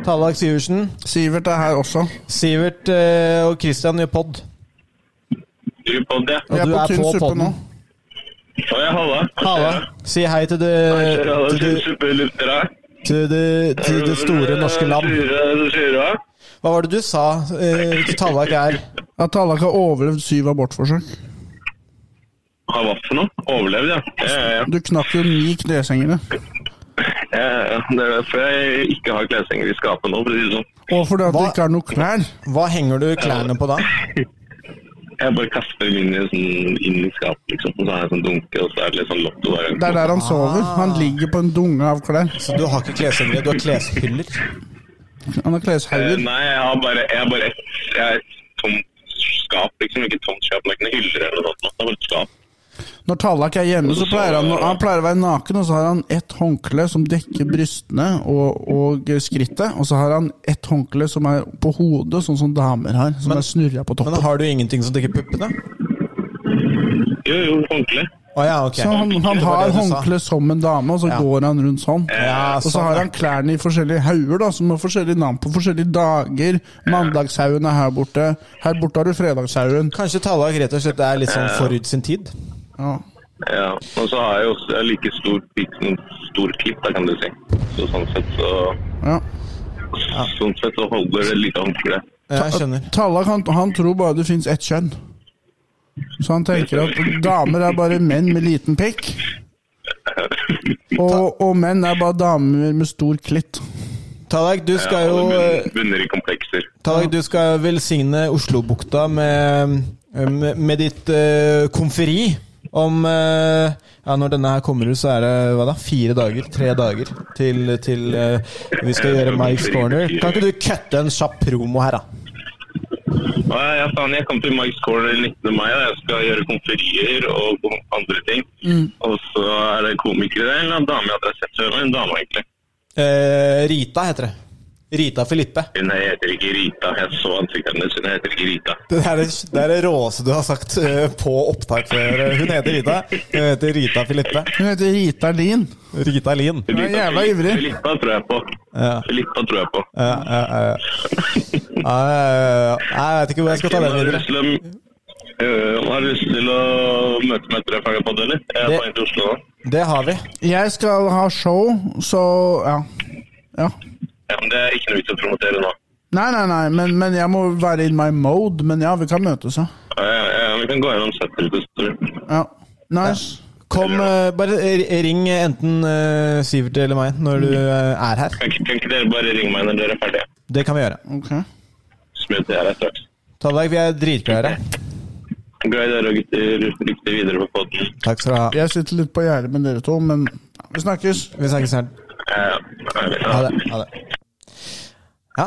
S3: Tallak Sivertsen.
S2: Sivert er her også.
S3: Sivert eh, og Christian gjør pod. Og
S2: Jeg er
S3: du
S2: på
S3: er
S2: tynn
S3: på
S2: suppe nå.
S3: podden. Halla. Eh, Si hei til det, til det, til det, til det store norske land. Hva var det du sa eh, til Tallak er?
S2: At Tallak har overlevd syv abortforsøk.
S8: Ja, hva for noe? Overlevd, ja. Ja, ja,
S2: Du knakk jo ni kneshengere.
S8: ja. ja, ja. Det er derfor jeg ikke har kleshenger i skapet nå. for å si det sånn.
S2: Og fordi at det
S3: Hva-
S2: ikke er noe klær.
S3: Hva henger du klærne på da?
S8: Jeg bare kaster dem inn i, sånn, inn i skapet, liksom. Og så har jeg sånn dunke, og så er det litt sånn lotto hver
S2: Det er
S8: gang.
S2: der han sover. Han ligger på en dunge av klær.
S3: Så du har ikke kleshengere, du har klespyller.
S2: Han har
S8: Eh,
S2: kleshauger.
S8: Nei, jeg har bare, jeg har bare et, jeg har et tomt skap, liksom. Ikke et tomt skap, men ikke noen hyller eller noe sånt. Det er bare et skap.
S2: Når Tallak er hjemme, så pleier han, han pleier å være naken, og så har han ett håndkle som dekker brystene og, og skrittet, og så har han ett håndkle som er på hodet, sånn som damer har, som er snurra på
S3: Men
S2: toppen.
S3: har du ingenting som dekker puppene?
S8: Jo, jo, håndkle.
S3: Å ja, ok.
S2: Så han, han
S3: Det var
S2: har
S3: det du sa.
S2: håndkle som en dame, og så
S3: Ja.
S2: går han rundt sånn.
S3: Ja,
S2: Og så
S3: sånn,
S2: har
S3: ja.
S2: han klærne i forskjellige hauger, da, som har forskjellige navn på forskjellige dager. Mandagshaugen er her borte. Her borte har du fredagshaugen.
S3: Kanskje Tallak rett og slett er litt sånn forut sin tid?
S2: Ja.
S8: Ja. Og så har jeg jo også jeg har like stor, pikk som stor klipp, da, kan du si. Så sånn sett så,
S2: ja.
S8: sånn sett så holder det like håndkle.
S3: Jeg skjønner.
S2: Tallak han, han tror bare det fins ett kjønn. Så han tenker at damer er bare menn med liten pikk. Og, og menn er bare damer med stor klitt.
S3: Tallak, du skal
S8: Ja,
S3: jo
S8: og det
S3: eh,
S8: bunner- bunner i komplekser.
S3: Tallak, du skal velsigne Oslobukta med, med, med ditt eh, konferi om eh, ja, Når denne her kommer ut, så er det hva da? fire dager? Tre dager til, til eh, vi skal gjøre Mike's Corner. Kan ikke du kutte en kjapp promo her, da?
S8: Ja, ja, faen, jeg kom til Mike's Corner 19. mai, og jeg skal gjøre konferier og andre ting.
S3: Mm.
S8: Og så er det komikere der, eller en dame jeg hadde sett før, men en dame egentlig.
S3: Eh, Rita heter det. Rita Filippe.
S8: Hun heter ikke Rita, jeg så ansiktet hennes, hun heter ikke Rita.
S3: Det er det, det er det råeste du har sagt eh, på opptak før. Hun heter Rita. Hun heter Rita Filippe.
S2: Hun heter Rita Lien.
S3: Rita Lien.
S2: Hun er jævla ivrig.
S8: Filippa tror jeg på.
S3: Ja.
S8: Filippa tror jeg på.
S3: Ja, ja, ja. Ja, ja, ja. Jeg vet ikke hvor jeg skal ta den
S8: Har du
S3: videre.
S8: lyst til å, øh, har du lyst til å møte meg etter jeg er ferdig på det, eller? Jeg
S3: Det-
S8: er på vei til Oslo nå.
S3: Det har vi.
S2: Jeg skal ha show, så ja. ja.
S8: Ja, men det er ikke noe vits å promotere nå.
S2: Nei, nei, nei, men, men jeg må være in my mode. Men ja, vi kan møtes, ja.
S8: Ja, ja, ja, vi kan gå gjennom settet litt, tror jeg.
S2: ja. Nice.
S3: Kom, eh, bare eh, ring eh, enten eh, Sivert eller meg når du eh, er her.
S8: Kan ikke kan ikke dere bare ringe meg når dere er ferdige?
S3: Det kan vi gjøre.
S2: Ok.
S8: Smoothie er her straks.
S3: Tallak, vi er dritklare.
S8: Glad i dere og gutter. Lykke til videre på podden.
S3: Takk skal du ha.
S2: Jeg sitter litt på gjerdet med dere to, men ja, vi snakkes.
S3: Vi snakkes snart.
S8: Eh,
S3: Ha det. Ha det. Ja.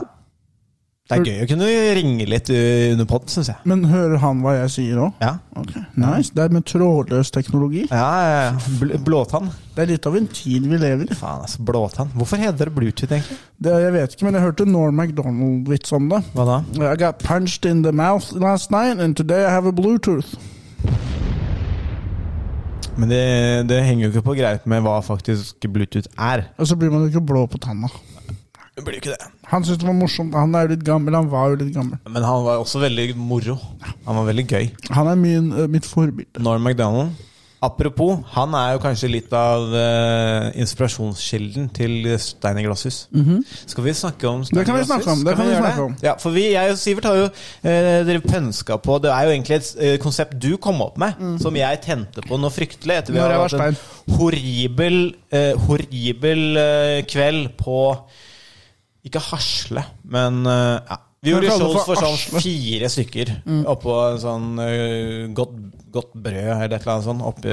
S3: Det er gøy å kunne ringe litt eh, under pod, syns jeg.
S2: Men hører han hva jeg sier òg?
S3: Ja.
S2: Ok, nice. Det er med trådløs teknologi.
S3: Ja, ja, ja. Bl- Blåtann.
S2: Det er litt av en tid vi lever i.
S3: Faen, altså. Blåtann. Hvorfor heter det Bluetooth, egentlig?
S2: Det, jeg vet ikke, men jeg hørte Norm MacDonald-vits om det.
S3: Hva da?
S2: I got punched in the mouth last night, and today I have a bluetooth.
S3: Men det, det henger jo ikke på greit med hva faktisk Bluetooth er.
S2: Og så blir man jo ikke blå på tanna.
S3: Det blir jo ikke det.
S2: Han syntes det var morsomt. Han er jo litt gammel. Han var jo litt gammel.
S3: Men han var også veldig moro. Han var veldig gøy.
S2: Han er min, eh, mitt forbilde.
S3: Norm MacDonald. Apropos, han er jo kanskje litt av eh, inspirasjonskilden til Stein i glasshus. Skal vi snakke om Stein
S2: Det kan
S3: i
S2: vi snakke
S3: glasshus?
S2: om, det
S3: Skal
S2: kan vi
S3: gjøre
S2: snakke om.
S3: Ja, for vi, jeg og Sivert har jo eh, dere pønska på Det er jo egentlig et eh, konsept du kom opp med, som jeg tente på noe fryktelig etter
S2: Mhm.
S3: vi
S2: Når jeg
S3: har
S2: var
S3: hatt en horribel, eh, horribel eh, kveld på ikke Hasle, men eh, ja. Vi
S2: Men
S3: gjorde
S2: kaller det
S3: shows
S2: for
S3: for sånn
S2: Asle.
S3: fire stykker
S2: Mm.
S3: oppå en sånn eh, godt, godt brød eller et eller annet sånt
S2: *laughs*
S3: oppi,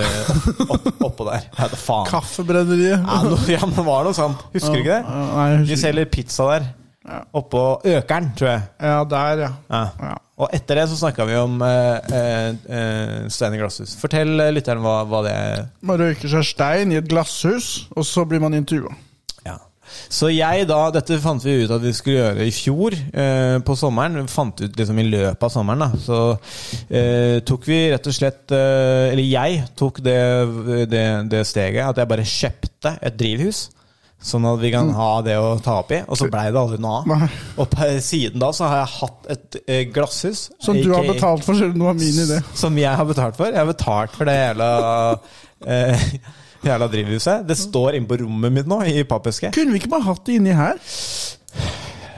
S3: opp, oppå der. Ja, det faen.
S2: Kaffebrenneriet.
S3: Ja, no, ja, men det var noe sånt. Husker du ikke
S2: Ja,
S3: det?
S2: Nei, jeg
S3: Vi
S2: husker ikke.
S3: selger pizza der. Oppå Økeren, tror jeg.
S2: Ja, der, ja.
S3: Ja.
S2: Ja.
S3: Og etter det så snakka vi om eh, eh, eh, Stein i glasshus. Fortell eh, lytteren hva, hva det er.
S2: Man røyker seg stein i et glasshus, og så blir man intervjua.
S3: Ja. Så jeg da, dette fant vi ut at vi skulle gjøre i fjor eh, på sommeren. Vi fant ut liksom i løpet av sommeren. da Så eh, tok vi rett og slett eh, Eller jeg tok det, det, det steget at jeg bare kjøpte et drivhus. Sånn at vi kan ha det å ta opp i. Og så blei det aldri noe
S2: Mm. Nei.
S3: av. Og per siden da så har jeg hatt et eh, glasshus.
S2: Som du har
S3: aka,
S2: betalt for, siden det var min idé.
S3: Som jeg har betalt for. Jeg har betalt for det jævla, *laughs* eh, jævla drivhuset. Det
S2: Mm.
S3: står inne på rommet mitt nå, i pappeske.
S2: Kunne vi ikke bare hatt det inni her?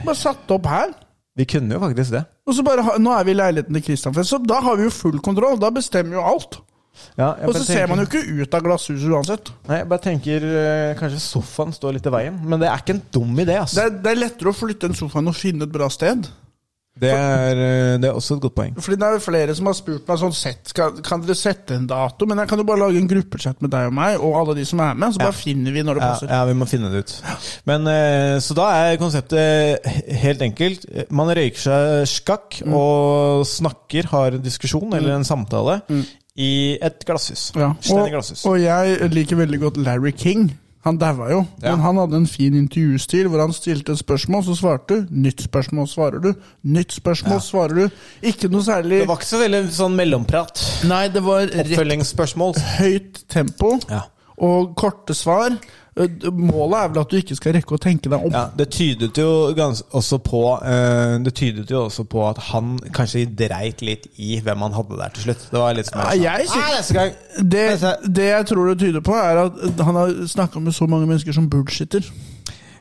S2: Bare satt opp her.
S3: Vi kunne jo faktisk det.
S2: Og så bare, ha- Nå er vi i leiligheten til Christian, Fest, så da har vi jo full kontroll. Da bestemmer jo alt.
S3: Ja, jeg
S2: Og
S3: bare
S2: så ser
S3: tenker-
S2: man jo ikke ut av glasshuset uansett.
S3: Nei, jeg bare tenker eh, kanskje sofaen står litt i veien, men det er ikke en dum idé.
S2: Det
S3: Altså.
S2: er, det er lettere å flytte en sofa enn å finne et bra sted.
S3: Det, er, eh, det er også et godt poeng.
S2: Fordi det er jo flere som har spurt meg sånn sett, skal, Kan dere sette en dato? Men jeg kan jo bare lage en gruppechat med deg og meg, og alle de som er med. Så bare finner vi når det
S3: Ja,
S2: passer.
S3: ja, vi må finne det ut. Men, eh, så da er konseptet he- helt enkelt. Man røyker seg skakk og snakker, har en diskusjon eller en samtale i et glasshus.
S2: Ja.
S3: Stein i
S2: Og,
S3: glasshus.
S2: og jeg liker veldig godt Larry King. Han daua jo,
S3: Ja.
S2: men han hadde en fin intervjustil hvor han stilte et spørsmål, så svarte du. Nytt spørsmål svarer du. Nytt spørsmål svarer du. Ikke noe særlig
S3: Det var ikke så veldig sånn mellomprat.
S2: Nei, det var rett
S3: Oppfølgingsspørsmål.
S2: høyt tempo
S3: Ja.
S2: og korte svar. Eh, Målet er vel at du ikke skal rekke å tenke deg om.
S3: Ja, det tydet jo gans også på eh, Det tydet jo også på at han kanskje dreit litt i hvem han hadde der til slutt. Det var litt som
S2: Nei, jeg
S3: sånn,
S2: synes-
S3: «Nei, neste gang.
S2: Det, det jeg tror det tyder på, er at han har snakka med så mange mennesker som bullshitter.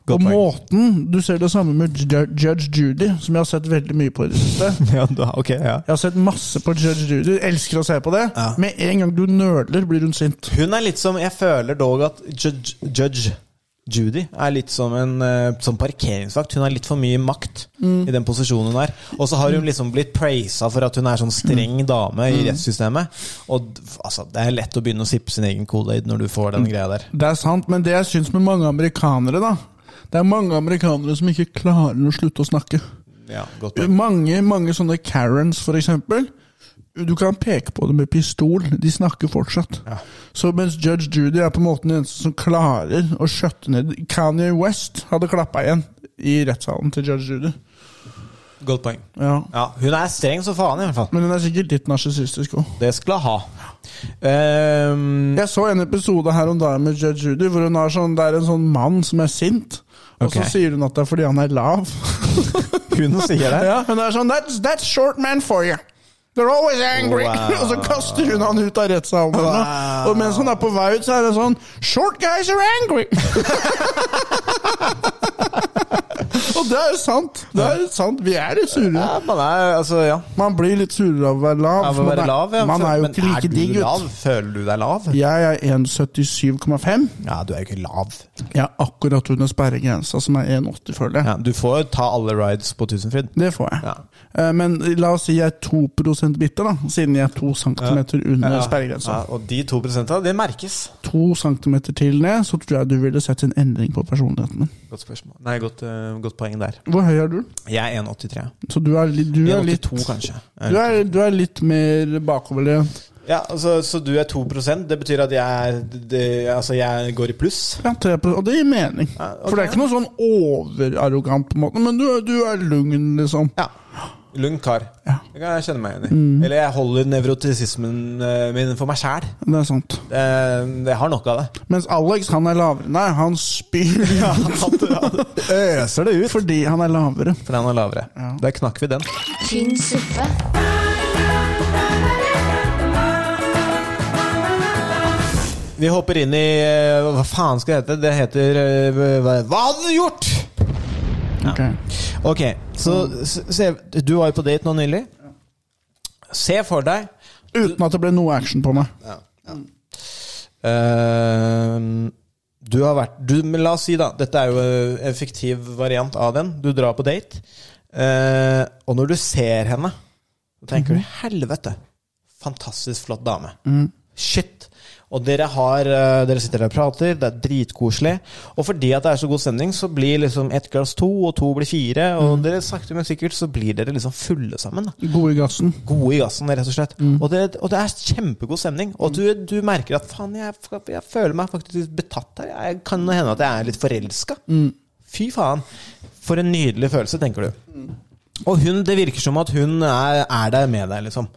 S3: Godt
S2: og
S3: poeng.
S2: måten Du ser det samme med Ju- Judge Judy, som jeg har sett veldig mye på i det siste.
S3: *laughs* Ja, da, ok, ja.
S2: Jeg har sett masse på Judge Judy, elsker å se på det.
S3: Ja.
S2: Med en gang du nøler, blir hun sint.
S3: Hun er litt som Jeg føler dog at Judge, judge Judy er litt som en eh, som parkeringsvakt. Hun har litt for mye makt i den posisjonen hun er. Og så har hun liksom blitt praisa for at hun er sånn streng dame i rettssystemet. Og d- altså, det er lett å begynne å sippe sin egen kodeid når du får den greia der.
S2: Det er sant, men det jeg syns med mange amerikanere, da Det er mange amerikanere som ikke klarer å slutte å snakke.
S3: Ja, godt poeng.
S2: Mange mange sånne Karens, for eksempel. Du kan peke på dem med pistol, de snakker fortsatt. Så mens Judge Judy er på en måte den eneste som klarer å skjøtte ned Kanye West hadde klappa igjen i rettssalen til Judge Judy.
S3: Godt poeng.
S2: Ja.
S3: Ja, hun er streng som faen, i hvert fall.
S2: Men hun er sikkert litt narsissistisk òg.
S3: Det skulle hun ha. Ehm,
S2: Jeg så en episode her om dagen med Judge Judy, hvor hun har sånn, det er en sånn mann som er sint. Og
S3: Ok.
S2: så sier hun at det er fordi han er lav.
S3: hun sier det.
S2: *laughs* ja, hun er sånn that's, that's short man for you. They're always angry. *laughs*
S3: Wow.
S2: og så kaster hun han ut av rettssalen.
S3: Wow.
S2: Og mens han er på vei ut, så er det sånn Short guys are angry! *laughs* og det er jo sant. Det er jo sant. Vi er litt sure.
S3: Ja, man er, altså, ja.
S2: Man blir litt surere av å være lav.
S3: Av å
S2: Man
S3: være
S2: er-
S3: lav, ja.
S2: Man er jo
S3: Men
S2: ikke like
S3: du
S2: digg,
S3: lav?
S2: gutt.
S3: Føler du deg lav?
S2: Jeg er 1,77,5.
S3: Ja, du er jo ikke lav.
S2: Jeg er akkurat under sperregrensa, som er 1,80, føler jeg.
S3: Ja, du får jo ta alle rides på Tusenfryd.
S2: Det får jeg.
S3: Ja.
S2: Eh, Men la oss si jeg er 2 bitter, da, siden jeg er 2 cm under
S3: Ja,
S2: sperregrensa.
S3: og de to prosentene, det merkes.
S2: 2 cm til ned, så tror jeg du ville sett en endring på personligheten min.
S3: Godt spørsmål. Nei, godt, eh, godt poeng der.
S2: Hvor høy er du?
S3: Jeg er 1,83.
S2: Så du er, li- du er litt
S3: 1,82 kanskje.
S2: du er, du er litt mer bakoverlent.
S3: Ja, altså, så du er 2 Det betyr at jeg, er- det, altså, jeg går i pluss?
S2: Ja, tre på- og det gir mening.
S3: ok.
S2: For det er ikke noe sånn overarrogant, på en måte, men du, er- du er lugn, liksom.
S3: Ja. Lugn kar. Det kan jeg kjenne meg igjen i. Eller jeg holder nevrotisismen eh, min for meg sjæl.
S2: Det er sant.
S3: Jeg har nok av det.
S2: Mens Alex, han er lavere. Nei, han spyr
S3: *laughs* Øser det ut.
S2: fordi han er lavere.
S3: For den er lavere. Der knakk vi den.
S1: Tynn suppe.
S3: Vi hopper inn i eh, Hva faen skal det hete? Det heter eh, Hva hva hadde du gjort?!
S2: Ok.
S3: Ok, så s- se, du var jo på date nå nylig. Se for deg
S2: Uten at det ble noe action på meg.
S3: eh, Du har vært du, men La oss si, da. Dette er jo en fiktiv variant av den. Du drar på date, eh, og når du ser henne, så tenker du 'helvete, fantastisk flott dame'. Shit. Og dere, har, eh, dere sitter der og prater, det er dritkoselig. Og fordi at det er så god stemning, så blir liksom ett glass to, og to blir fire. Og dere sakte, men sikkert så blir dere liksom fulle sammen. da
S2: God i gassen.
S3: gode i gassen, rett og slett. Og, det, og det er kjempegod stemning. Og du, du merker at faen, jeg, jeg føler meg faktisk betatt her. Jeg kan hende at jeg er litt forelska. Fy faen. For en nydelig følelse, tenker du. Og hun, det virker som at hun er, er der med deg, liksom.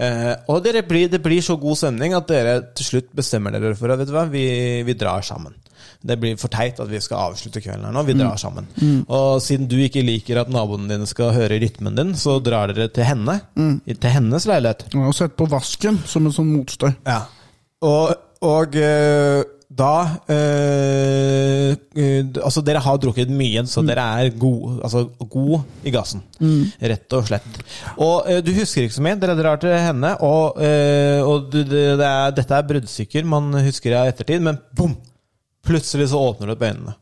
S3: eh, og dere blir, det blir så god stemning at dere til slutt bestemmer dere for at vet du hva, vi, vi drar sammen. Det blir for teit at vi skal avslutte kvelden her nå. Vi drar sammen. Og siden du ikke liker at naboene dine skal høre rytmen din, så drar dere til henne. i- Til hennes leilighet.
S2: Jeg har sett på vasken som en sånn motstøy.
S3: Ja. Og, og eh, da eh, eh, Altså, dere har drukket mye, så dere er gode altså, god i gassen. Rett og slett. Og eh, du husker ikke så mye. Dere drar til henne, og, eh, og du, det, det er, dette er bruddstykker man husker i ettertid, men bom! Plutselig så åpner du opp øynene.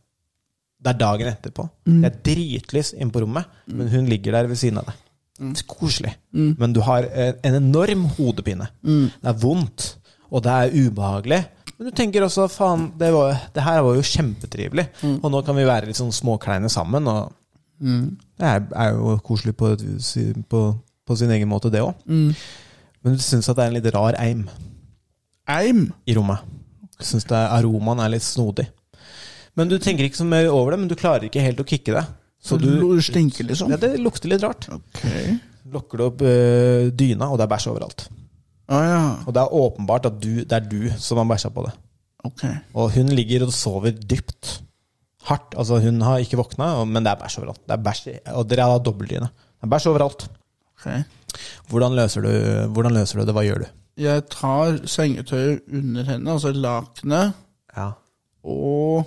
S3: Det er dagen etterpå. Det er dritlys inne på rommet, men hun ligger der ved siden av deg. Det er Koselig. Men du har eh, en enorm hodepine. Det er vondt, og det er ubehagelig. Men du tenker også faen, det, var, det her var jo kjempetrivelig. Og nå kan vi være litt sånn småkleine sammen. Og det er, er jo koselig på, et vis- på, på sin egen måte, det òg. Men du syns at det er en litt rar eim
S2: Eim!
S3: i rommet. Syns det er- aromaen er litt snodig. Men du tenker ikke så mer over det, men du klarer ikke helt å kicke det. Så du
S2: Du stinker, liksom.
S3: ja, Det lukter litt rart.
S2: Ok.
S3: Lokker du opp eh, dyna, og det er bæsj overalt.
S2: Å Ah, ja.
S3: Og det er åpenbart at du, det er du som har bæsja på det.
S2: Ok.
S3: Og hun ligger og sover dypt. Hardt. Altså, hun har ikke våkna, og- men det er bæsj overalt. Det er bæsj, i- og dere har dobbeltdyne. Det er bæsj overalt.
S2: Ok.
S3: Hvordan løser, du, hvordan løser du det? Hva gjør du?
S2: Jeg tar sengetøyet under henne, altså lakenet
S3: Ja.
S2: og,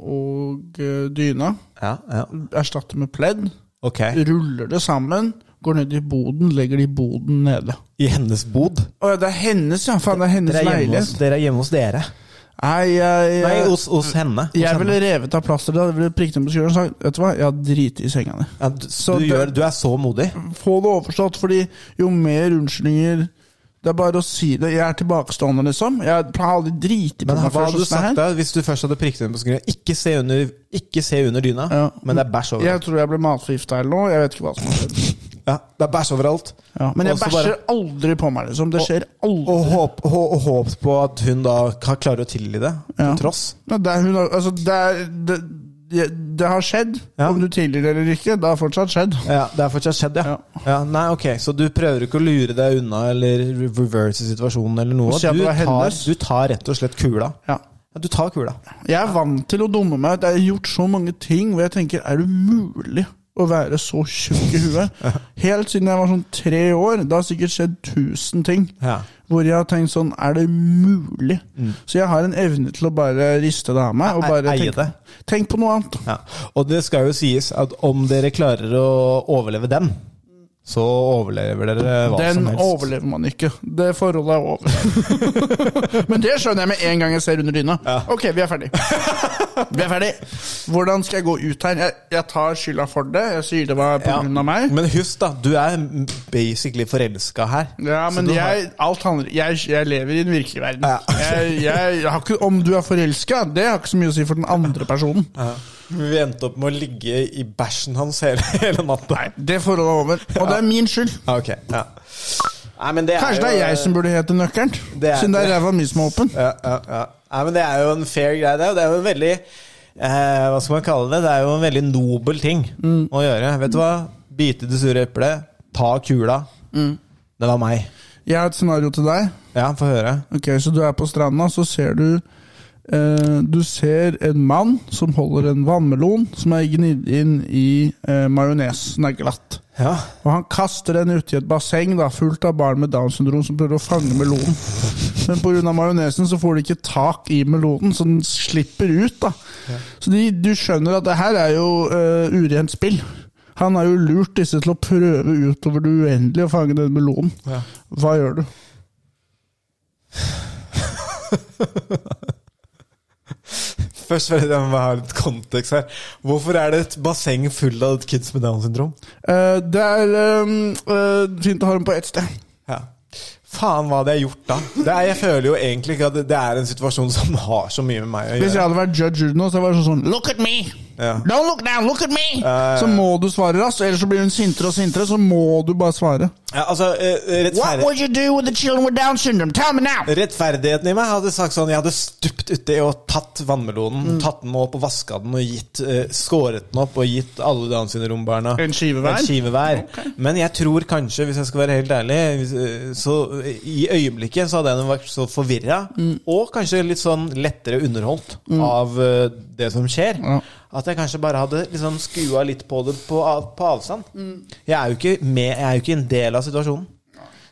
S2: og eh, dyna.
S3: Ja, ja.
S2: Erstatter med pledd.
S3: Ok.
S2: Ruller det sammen, går ned i boden, legger det i boden nede.
S3: I hennes bod?
S2: Å ja, det er hennes, ja. Faen, det er hennes
S3: Dere er hjemme hos
S2: leilighet.
S3: dere. Er hjemme hos dere.
S2: Nei, jeg, jeg,
S3: Nei, hos, hos henne. Hos
S2: jeg ville
S3: henne.
S2: revet av plasteret. da. Jeg ville prikket henne på skulderen og sagt Vet du hva, jeg har driti i senga di.
S3: Ja, du,
S2: Så
S3: du,
S2: det-
S3: gjør, du er så modig.
S2: Få det overstått, fordi jo mer unnskyldninger Det er bare å si det. Jeg er tilbakestående, liksom. Jeg har aldri driti på
S3: Men
S2: meg
S3: hva
S2: før.
S3: hadde du
S2: sånn her.
S3: sagt da hvis du først hadde prikket henne på skulderen? Ikke se under, ikke se under dyna,
S2: Ja.
S3: men det er bæsj
S2: Jeg
S3: overalt.
S2: tror jeg ble matforgifta eller noe. Jeg vet ikke hva som har skjedd.
S3: Ja, det er bæsj overalt.
S2: Ja, men jeg
S3: Og så
S2: bæsjer
S3: bare-
S2: aldri på meg, liksom. Det skjer aldri.
S3: Og håp, hå, og håp på at hun da ka- klarer å tilgi det,
S2: Ja.
S3: til tross.
S2: Ja, det, er hun, har- altså, det, er, det, det, det har skjedd.
S3: Ja.
S2: Om du tilgir det eller ikke, det har fortsatt skjedd.
S3: Ja, Det er fortsatt skjedd, ja. ja. nei, ok, Så du prøver ikke å lure deg unna eller re- reverse situasjonen eller noe?
S2: Og si at
S3: Du
S2: det var
S3: tar,
S2: hennes.
S3: du tar rett og slett kula?
S2: Ja.
S3: Ja, du tar kula.
S2: Jeg er vant til å dumme meg. Det er gjort så mange ting hvor jeg tenker Er det mulig å være så tjukk i
S3: *laughs*
S2: huet? Helt siden jeg var sånn tre år. Det har sikkert skjedd tusen ting.
S3: Ja.
S2: Hvor jeg har tenkt sånn Er det mulig? Så jeg har en evne til å bare riste det av meg. Og
S3: E-
S2: bare
S3: eie
S2: tenke,
S3: det.
S2: tenk på noe annet.
S3: Ja. Og det skal jo sies at om dere klarer å overleve den, så overlever dere hva
S2: Den
S3: som helst.
S2: overlever man ikke. Det forholdet er over. *laughs* Men det skjønner jeg med en gang jeg ser under dyna. Ok, vi er
S3: *laughs*
S2: ferdig. Vi er ferdig. Hvordan skal jeg gå ut her? Jeg, jeg tar skylda for det. Jeg sier det var på
S3: Ja.
S2: grunn av meg.
S3: Men husk, da. Du er basically forelska her.
S2: Ja,
S3: Så
S2: men
S3: du har-
S2: jeg, alt handler, jeg, jeg lever i den virkelige verden.
S3: Ja.
S2: *laughs* Jeg, jeg, har ikke, om du er forelska, det har ikke så mye å si for den andre personen.
S3: Vi endte opp med å ligge i bæsjen hans hele, *laughs* hele natta.
S2: Nei, Det forholdet er over. Og det er min skyld.
S3: Ja, ok. Ja. Nei, men det er
S2: Ah, Kanskje det
S3: jo,
S2: er jeg som burde hete Nøkkelen,
S3: Det er-
S2: siden det er ræva mi som er åpen.
S3: ja, ja, ja. Nei, men det er jo en fair greie. Det er jo, det er jo en veldig eh, Hva skal man kalle det? Det er jo en veldig nobel ting
S2: Mm.
S3: å gjøre. Vet du hva? Bite i det sure eplet. Ta kula.
S2: Mm.
S3: Det var meg.
S2: Jeg har et scenario til deg.
S3: Ja, få høre.
S2: Ok, Så du er på stranda, så ser du eh, Du ser en mann som holder en vannmelon som er gnidd inn i eh, majones. Den er glatt.
S3: Ja.
S2: Og han kaster den uti et basseng da, fullt av barn med Downs syndrom som prøver å fange melonen. Men pga. majonesen så får de ikke tak i melonen, så den slipper ut. da. Så de, du skjønner at det her er jo eh, urent spill. Han har jo lurt disse til å prøve utover det uendelige å fange den melonen.
S3: Ja.
S2: Hva gjør du?
S3: Først vil jeg ha litt kontekst her. Hvorfor er det et basseng full av kids med Downs syndrom?
S2: Eh, det er eh, eh, fint å ha dem på ett sted.
S3: Ja. Faen, hva hadde jeg gjort da? Det er, jeg føler jo egentlig ikke at det- det er en situasjon som har så mye med meg å
S2: Hvis jeg
S3: gjøre.
S2: hadde vært judge nå, så var det sånn Look at me!
S3: Ja.
S2: Don't look down, look at me!
S3: ja, ja.
S2: Så må du svare raskt, ellers så blir hun sintere og sintere. Så må du bare svare.
S3: Ja, altså, eh,
S2: What
S3: rettferdig
S2: would you do with the children with Down syndrome? Tell me now!
S3: Rettferdigheten i meg hadde sagt sånn Jeg hadde stupt uti og tatt vannmelonen, tatt den opp og vaska den og gitt, eh, skåret den opp og gitt alle Downs syndrombarna
S2: En skive hver?
S3: En skive hver. Men jeg tror kanskje, hvis jeg skal være helt ærlig, hvis, eh, så eh, i øyeblikket så hadde jeg vært så forvirra, og kanskje litt sånn lettere underholdt av eh, det som skjer.
S2: Ja.
S3: At jeg kanskje bare hadde liksom skua litt på det på, av- på avstand. Jeg, er jo ikke med, jeg er jo ikke en del av situasjonen.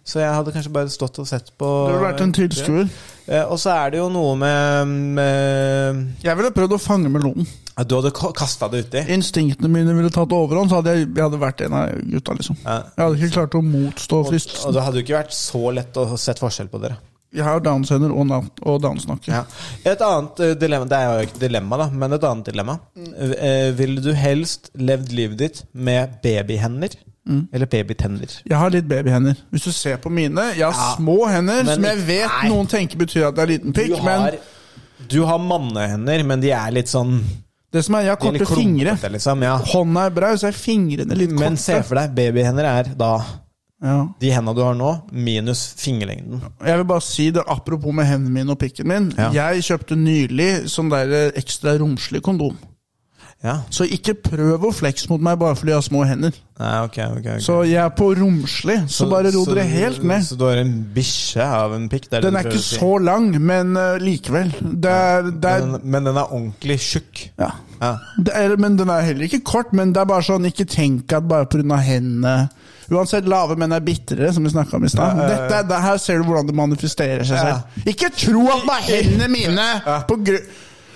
S3: Så jeg hadde kanskje bare stått og sett på
S2: Du hadde vært en tilskuer.
S3: Eh, Og så er det jo noe med, med
S2: Jeg ville prøvd å fange melonen.
S3: At du hadde kasta det uti.
S2: Instinktene mine ville tatt overhånd, så hadde jeg, jeg hadde vært en av gutta, liksom.
S3: Ja.
S2: Jeg hadde ikke klart å motstå
S3: Og, og
S2: fristelsen.
S3: det hadde jo ikke vært så lett å sett forskjell på dere.
S2: Jeg har downsender og, down, og downsnakke.
S3: Ja. Et annet eh, dilemma Det er jo ikke et dilemma, da, men et annet dilemma.
S2: Mm.
S3: Eh, Ville du helst levd livet ditt med babyhender
S2: Mm.
S3: eller babytenner?
S2: Jeg har litt babyhender. Hvis du ser på mine Jeg har
S3: Ja.
S2: små hender,
S3: Men-
S2: som jeg vet
S3: Nei.
S2: noen tenker betyr at det er liten pikk,
S3: Du har,
S2: men
S3: du har mannehender, men de er litt sånn
S2: det som er, jeg har
S3: de er
S2: korte
S3: litt
S2: fingre.
S3: klumpete, Liksom, ja.
S2: Hånda er brei, så er fingrene litt korte.
S3: Men se for deg, babyhender er da
S2: ja.
S3: de hendene du har nå, minus fingerlengden.
S2: Jeg vil bare si det apropos med hendene mine og pikken min.
S3: Ja.
S2: Jeg kjøpte nylig sånn der eh, ekstra romslig kondom.
S3: Ja.
S2: Så ikke prøv å flekse mot meg bare fordi jeg har små hender.
S3: Nei, ok, ok, ok.
S2: Så jeg er på romslig, så, bare ro
S3: så
S2: dere
S3: du-
S2: helt ned.
S3: Så du har en bikkje av en pikk? det det
S2: Den
S3: du
S2: er
S3: prøver
S2: ikke
S3: å si.
S2: så lang, men eh, likevel. Det er, det er,
S3: men, den- men den er ordentlig tjukk.
S2: ja.
S3: Ja.
S2: det er, men den er heller ikke kort, men det er bare sånn, ikke tenk at bare pga. hendene Uansett, lave menn er bitrere, som vi snakka om i stad.
S3: Ja, ja, ja.
S2: Dette er- det Her ser du hvordan det manifesterer seg
S3: Ja.
S2: selv. Ikke tro at bare hendene mine
S3: *laughs*
S2: på grunn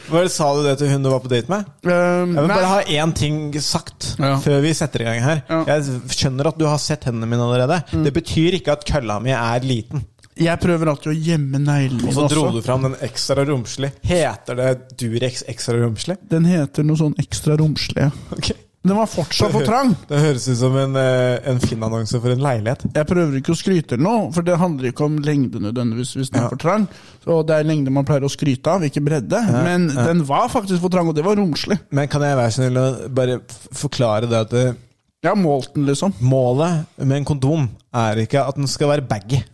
S3: Hva Sa du det til hun du var på date med?
S2: Ehm,
S3: Jeg vil
S2: nei.
S3: bare ha én ting sagt
S2: Ja.
S3: før vi setter i gang her.
S2: Ja. Mm.
S3: Jeg skjønner at du har sett hendene mine allerede. Det betyr ikke at kølla mi er liten.
S2: Jeg prøver alltid å gjemme neglene
S3: Og
S2: mine
S3: så dro du
S2: også.
S3: fram den ekstra romslig. Heter det Durex ekstra romslig? *laughs*
S2: Den heter noe sånn ekstra romslig.
S3: Ok.
S2: Den var fortsatt for trang.
S3: *laughs* Det høres ut som en, eh, en Finn-annonse for en leilighet.
S2: Jeg prøver ikke å skryte eller noe, for det handler ikke om lengde nødvendigvis hvis den er for trang. Og det er lengde man pleier å skryte av, ikke bredde. Men den var faktisk for trang, og det var romslig.
S3: Men kan jeg være snill å bare f- forklare det at eh, det-
S2: Jeg har målt den, liksom.
S3: målet med en kondom er ikke at den skal være baggy.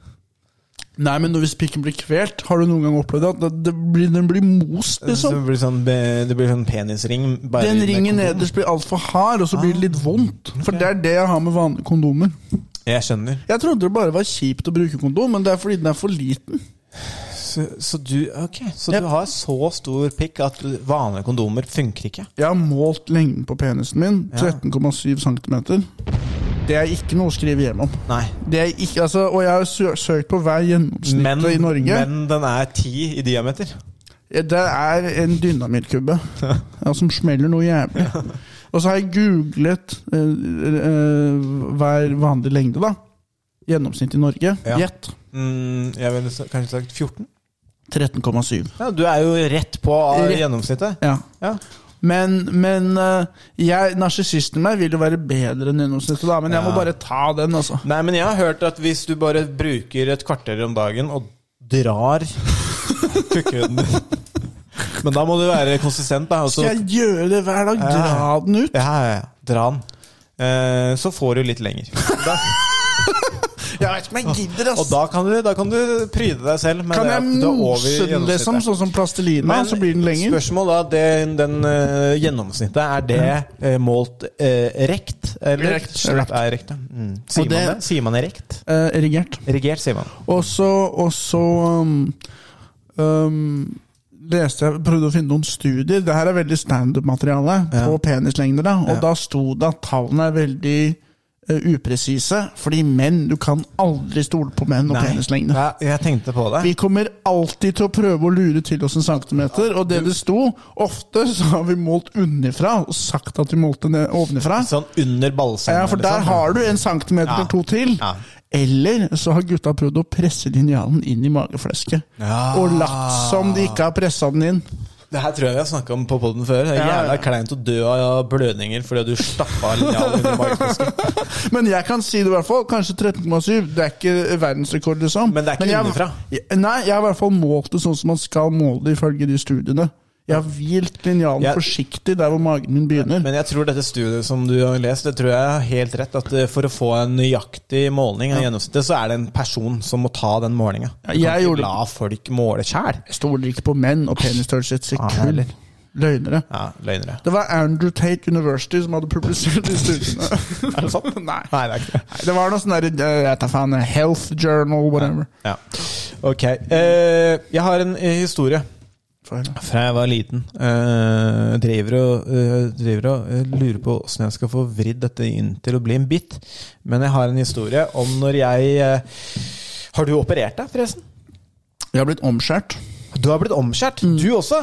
S2: Nei, men når- hvis pikken blir kvelt, har du noen gang opplevd at det, det blir, den blir most,
S3: Så
S2: liksom?
S3: det blir sånn, be- det blir sånn penisring. Bare
S2: Den
S3: med
S2: ringen
S3: kondom. Ah.
S2: nederst blir altfor hard, og så blir det litt vondt. For det er det jeg har med vanlige kondomer.
S3: Jeg skjønner.
S2: Jeg trodde det bare var kjipt å bruke kondom, men det er fordi den er for liten.
S3: Så, så du ok, så
S2: Yep.
S3: du har så stor pikk at du- vanlige kondomer funker ikke?
S2: Jeg har målt lengden på penisen min. 13,7 cm. Det er ikke noe å skrive hjem om.
S3: Nei.
S2: Det er ikke, altså, og jeg har sø søkt på hver gjennomsnitt
S3: Men,
S2: i Norge.
S3: men den er ti i diameter.
S2: Det er en dynamittkubbe ja, som smeller noe jævlig. Og så har jeg googlet eh, eh, hver vanlig lengde, da. Gjennomsnitt i Norge.
S3: Ja.
S2: Gjett.
S3: Mm, jeg ville sa- kanskje sagt 14?
S2: 13,7.
S3: Ja, Du er jo rett på av
S2: Rett.
S3: gjennomsnittet.
S2: Ja.
S3: Ja.
S2: Men, men eh, jeg, narsissisten meg vil jo være bedre enn gjennomsnittet, da. Men jeg må
S3: Ja.
S2: bare ta den, altså.
S3: Nei, men jeg har hørt at hvis du bare bruker et kvarter om dagen og
S2: *laughs*
S3: drar kukken din Men da må du være konsistent, da. Altså, og så-
S2: Skal jeg gjøre det hver dag? Dra
S3: Ja.
S2: den ut?
S3: Ja, ja, ja. Dra den. Eh, så får du litt lenger.
S2: Jeg vet ikke om jeg gidder,
S3: Og da kan du, da kan du pryde deg selv med
S2: Kan
S3: det
S2: jeg
S3: at du er over
S2: mose den,
S3: gjennomsnittet.
S2: liksom? Sånn som plastelina,
S3: Men
S2: så blir den lenger?
S3: Spørsmål da, det, den eh, gjennomsnittet, er det eh, målt eh, rekt? Eller?
S2: Rekt.
S3: Rekt. Er rekt ja. mm. sier,
S2: Og det-
S3: man det? sier man rekt?
S2: Eh, erigert.
S3: Erigert, sier man.
S2: Og så, og så um, um, leste jeg, prøvde å finne noen studier. Det her er veldig standup-materiale på penislengder. da, Og da sto det at tallene er veldig eh, upresise, fordi menn Du kan aldri stole på menn og penislengde.
S3: Nei, jeg tenkte på det.
S2: Vi kommer alltid til å prøve å lure til oss en centimeter, og det det sto Ofte så har vi målt underfra og sagt at vi målte ned ovenfra.
S3: Sånn under liksom. ballsengen.
S2: Ja, for der har du en centimeter
S3: Ja.
S2: eller to til.
S3: Ja.
S2: Eller så har gutta prøvd å presse linjalen inn i mageflesket.
S3: Ja.
S2: Og latt som de ikke har pressa den inn.
S3: Det her tror jeg vi har snakka om på poden før. Det
S2: Ja,
S3: er
S2: ja.
S3: jævla kleint å dø av blødninger fordi du stappa linjalen under mageflesket.
S2: Men jeg kan si det i hvert fall. Kanskje 13,7. Det er ikke verdensrekord, liksom.
S3: Men det er ikke
S2: jeg-
S3: innenfra.
S2: Jeg- Nei, jeg har i hvert fall målt det sånn som man skal måle det ifølge de studiene. Jeg har hvilt linjalen
S3: Jeg-
S2: forsiktig der hvor magen min begynner.
S3: Men jeg tror dette studiet som du har lest, det tror jeg er helt rett. At eh, for å få en nøyaktig måling av gjennomsnittet, så er det en person som må ta den målinga.
S2: Ja,
S3: Du kan
S2: jeg
S3: ikke
S2: gjorde-
S3: la folk måle sjæl.
S2: Jeg stoler ikke på menn og penisstørrelse et sekund.
S3: heller.
S2: Løgnere.
S3: Ja, løgnere.
S2: Det var Andrew Tate University som hadde publisert de studiene.
S3: *laughs* Er det sant?
S2: *laughs* Nei.
S3: Nei, det er ikke det.
S2: Nei, Det var noe sånn der eh, Jeg tar faen eh, Health Journal, whatever.
S3: Ja. Ok. eh, jeg har en eh, historie
S2: Får jeg-
S3: fra jeg var liten. Eh, driver og, eh, driver og eh, lurer på åssen jeg skal få vridd dette inn til å bli en bit. Men jeg har en historie om når jeg eh, Har du operert deg, forresten?
S2: Jeg har blitt omskjært.
S3: Du har blitt omskjært.
S2: Mm.
S3: Du også?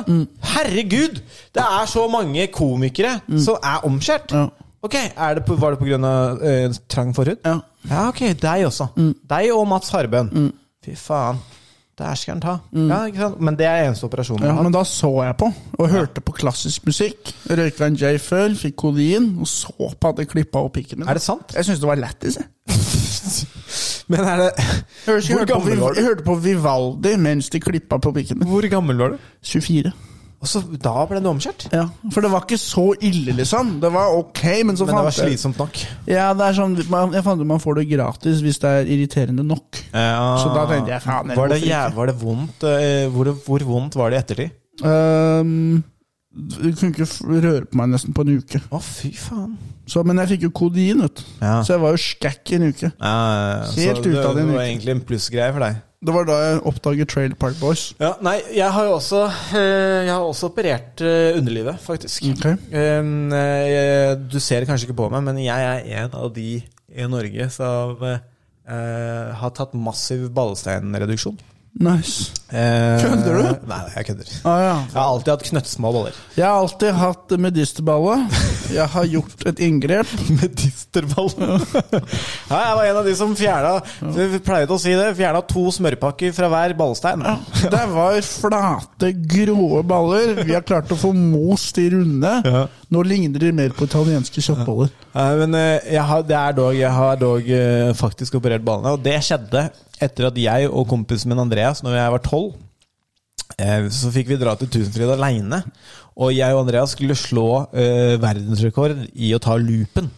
S3: Herregud! Det er så mange komikere som er omskjært.
S2: Mm. Ja.
S3: Ok, er det på, Var det pga. Uh, trang forhud?
S2: Ja. Mm.
S3: ja, ok. Deg også. Deg og Mats Harbøen. Fy faen. Der skal han ta. Ja, ikke sant? Men det er eneste operasjonen.
S2: Mm. Ja,
S3: han har
S2: men da så jeg på, og hørte på klassisk musikk. Røyka en J før, fikk kodein, og så på at det klippa opp pikken min.
S3: Er det
S2: *laughs*
S3: sant?
S2: Jeg syns det var lættis, jeg.
S3: hatt. Men
S2: *laughs*
S3: er det
S2: Jeg hørte- jeg hørte på
S3: Hvor gammel
S2: Vi-
S3: var du?
S2: Jeg hørte på Vivaldi mens de klippa på pikken min.
S3: Hvor gammel var du?
S2: 24.
S3: Og så Da ble du omskjært?
S2: Ja, For det var ikke så ille, liksom. Det var ok, men så
S3: Men det
S2: fant
S3: var
S2: jeg
S3: slitsomt nok.
S2: Ja, det er sånn, man, Jeg fant ut man får det gratis hvis det er irriterende nok. Så da tenkte jeg, faen, eller
S3: Ah. Var det,
S2: hvorfor ikke?
S3: jæv- var det vondt? eh, hvor, hvor vondt var det i ettertid?
S2: Ehm, du kunne ikke f- røre på meg nesten på en uke.
S3: Å, fy faen.
S2: Så, men jeg fikk jo kodein, vet du.
S3: Ja.
S2: Så jeg var jo skækk i en uke.
S3: Ja,
S2: Helt
S3: så
S2: ut av
S3: det,
S2: din
S3: det var
S2: uke.
S3: egentlig en plussgreie for deg.
S2: Det var da jeg oppdaget Trailer Park Boys.
S3: Ja, nei, jeg har jo også, eh, jeg har også operert eh, underlivet, faktisk.
S2: Ok.
S3: Um, eh, Du ser det kanskje ikke på meg, men jeg er en av de i Norge som eh, eh, har tatt massiv ballesteinreduksjon.
S2: Nice.
S3: Eh,
S2: Kødder du?
S3: Nei, jeg kødder.
S2: Ah, ja.
S3: Jeg har alltid hatt knøttsmå
S2: *laughs*
S3: baller.
S2: Jeg har alltid hatt medisterballe. Jeg har gjort et inngrep.
S3: Medisterball. *laughs* ja, jeg var en av de som fjerna Vi pleide å si det. Fjerna to smørpakker fra hver ballestein.
S2: Det var flate, grå baller. Vi har klart å få most de runde.
S3: Ja.
S2: Nå ligner de mer på italienske kjøttboller.
S3: Nei, men eh, jeg har, det er dog, jeg har dog eh, faktisk operert ballene, og det skjedde etter at jeg og kompisen min Andreas, når jeg var tolv, eh, så fikk vi dra til Tusenfryd alene og jeg og Andreas skulle slå eh, verdensrekord i å ta loopen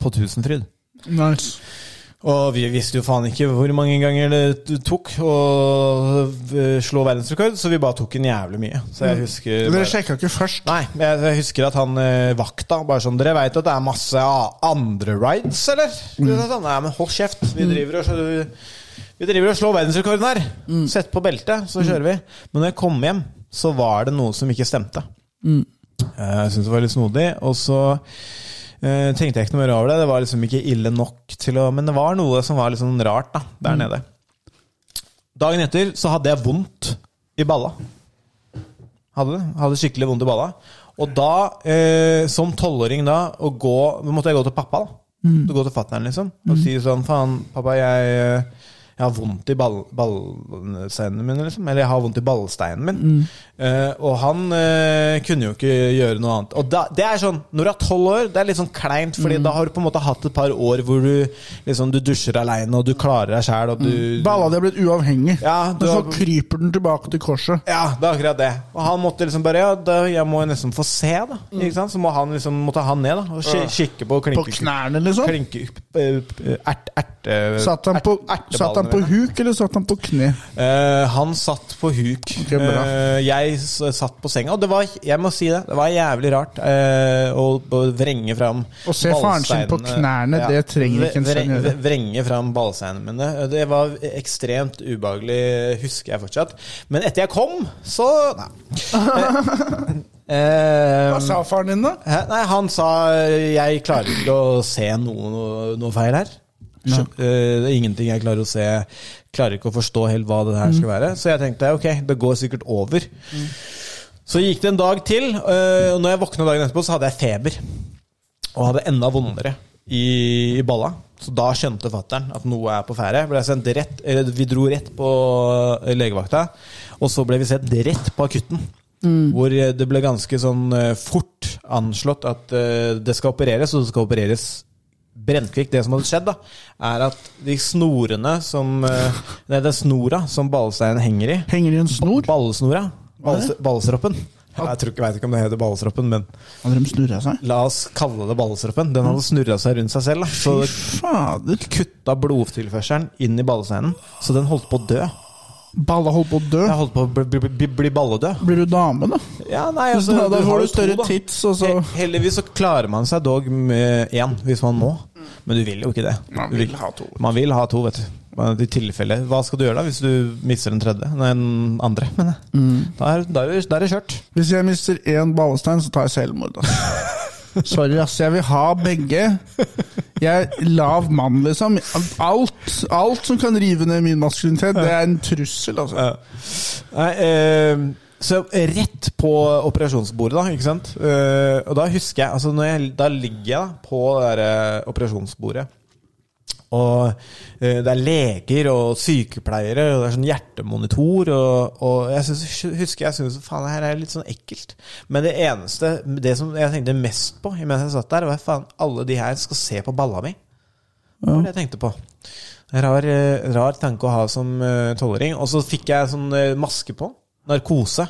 S3: på Tusenfryd.
S2: Nice.
S3: Og vi visste jo faen ikke hvor mange ganger det tok å eh, slå verdensrekord, så vi bare tok en jævlig mye. Så jeg husker
S2: Dere
S3: bare-
S2: sjekka ikke først?
S3: Nei, jeg, jeg husker at han eh, vakta bare sånn Dere veit at det er masse a- andre rides, eller? Du vet sånn, Nei, men hold kjeft. Vi driver og, vi driver og slår verdensrekorden her. Sett på beltet, så kjører vi. Men når jeg kom hjem, så var det noe som ikke stemte. Eh, Jeg syntes det var litt snodig. Og så eh, tenkte jeg ikke noe mer over det. Det var liksom ikke ille nok til å Men det var noe som var litt sånn rart da, der nede. Dagen etter så hadde jeg vondt i balla. Hadde det. Hadde skikkelig vondt i balla. Og da, eh, som tolvåring da, å gå, nå måtte jeg gå til pappa. da. Gå til fatter'n, liksom. Og si sånn Faen, pappa, jeg, eh, jeg har vondt i ball, ballsteinene mine, liksom. Eller jeg har vondt i ballsteinen min. Eh, og han eh, kunne jo ikke gjøre noe annet. Og da, det er sånn, når du er tolv år, det er litt sånn kleint, Fordi da har du på en måte hatt et par år hvor du liksom Du dusjer aleine, og du klarer deg sjæl, og du
S2: Mm. Balla di er blitt uavhengig,
S3: Ja,
S2: men
S3: du
S2: så
S3: har-
S2: kryper den tilbake til korset.
S3: Ja, det er akkurat det. Og han måtte liksom bare Ja, da, jeg må jo nesten få se, da. Ikke sant? Så må han liksom måtte han ned, da. Og ki- kikke på
S2: Mm. På
S3: klinke...
S2: knærne, liksom.
S3: Klinke... eh, Ert... Erte...
S2: Satt han på,
S3: ert-
S2: satt han på
S3: erteballene mine.
S2: huk, eller satt han på kne?
S3: Eh, han satt på huk.
S2: Ok, bra.
S3: Eh, jeg s- satt på senga, og det var Jeg må si det, det var jævlig rart eh, å, å vrenge fram
S2: Å se faren sin på
S3: ballsteinene.
S2: knærne, det trenger ikke en
S3: vreng-
S2: sånn gjøre.
S3: Vrenge fram ballsteinene mine. Det var ekstremt
S2: *laughs*
S3: ubehagelig, husker jeg fortsatt. Men etter jeg kom, så Nei. Eh, Eh,
S2: Hva sa faren din, da?
S3: Hæ? Nei, han sa jeg klarer ikke å se noe, noe, noe feil her. Skjø- eh, det er ingenting jeg klarer å se. Klarer ikke å forstå helt hva det her skal være. Så jeg tenkte ok, det går sikkert over. Så gikk det en dag til, eh, og når jeg våkna dagen etterpå, så hadde jeg feber. Og hadde enda vondere i, i balla. Så da skjønte fattern at noe er på ferde. Ble sendt rett, eller vi dro rett på eh, legevakta, og så ble vi sett rett på akutten. Hvor eh, det ble ganske sånn eh, fort anslått at eh, det skal opereres, og det skal opereres brennkvikt. Det som hadde skjedd, da, er at de snorene som eh, Nei, det er snora som ballesteinen henger i.
S2: Henger i en snor.
S3: Ballesnora. Balles- Ballestroppen. Jeg tror ikke, jeg vet ikke om det heter ballestroppen, men
S2: Hadde de snurra seg?
S3: La oss kalle det ballestroppen. Den hadde snurra seg rundt seg selv. Da. Så det
S2: Fader.
S3: kutta blodtilførselen inn i ballesteinen, så den holdt på å dø.
S2: Balla holdt på å dø.
S3: Jeg holdt på å bli, bli, bli, bli balledød.
S2: Blir du dame, da?
S3: Ja, nei,
S2: Så da- da
S3: har
S2: får altså, du
S3: jo to,
S2: større
S3: *laughs* da.
S2: tits, og så
S3: He- Heldigvis så klarer man seg dog med én, hvis man må. Men du vil jo ikke det.
S2: Mm. Man
S3: Du
S2: vil ha to.
S3: Man vil ha to, vet du. Men I tilfelle Hva skal du gjøre da hvis du mister den tredje? Nei, den andre, mener jeg.
S2: Mm.
S3: Da er da er det da er det kjørt.
S2: Hvis jeg mister én ballestein, så tar jeg selvmord. altså. ass. *laughs* Sorry, ass. Jeg vil ha begge. Jeg er lav mann, liksom. Alt, alt som kan rive ned min maskulinitet, det er en trussel, altså.
S3: Nei, eh, så rett på operasjonsbordet, da. ikke sant? Eh, og da husker jeg altså når jeg, Da ligger jeg da, på det der, eh, operasjonsbordet. Og eh, det er leger og sykepleiere, og det er sånn hjertemonitor. Og, og jeg synes, husker jeg syntes faen, det her er litt sånn ekkelt. Men det eneste Det som jeg tenkte mest på mens jeg satt der, var faen, alle de her skal se på balla mi. Det var det jeg tenkte på. Rar, eh, rar tanke å ha som eh, tolvåring. Og så fikk jeg sånn eh, maske på. Narkose.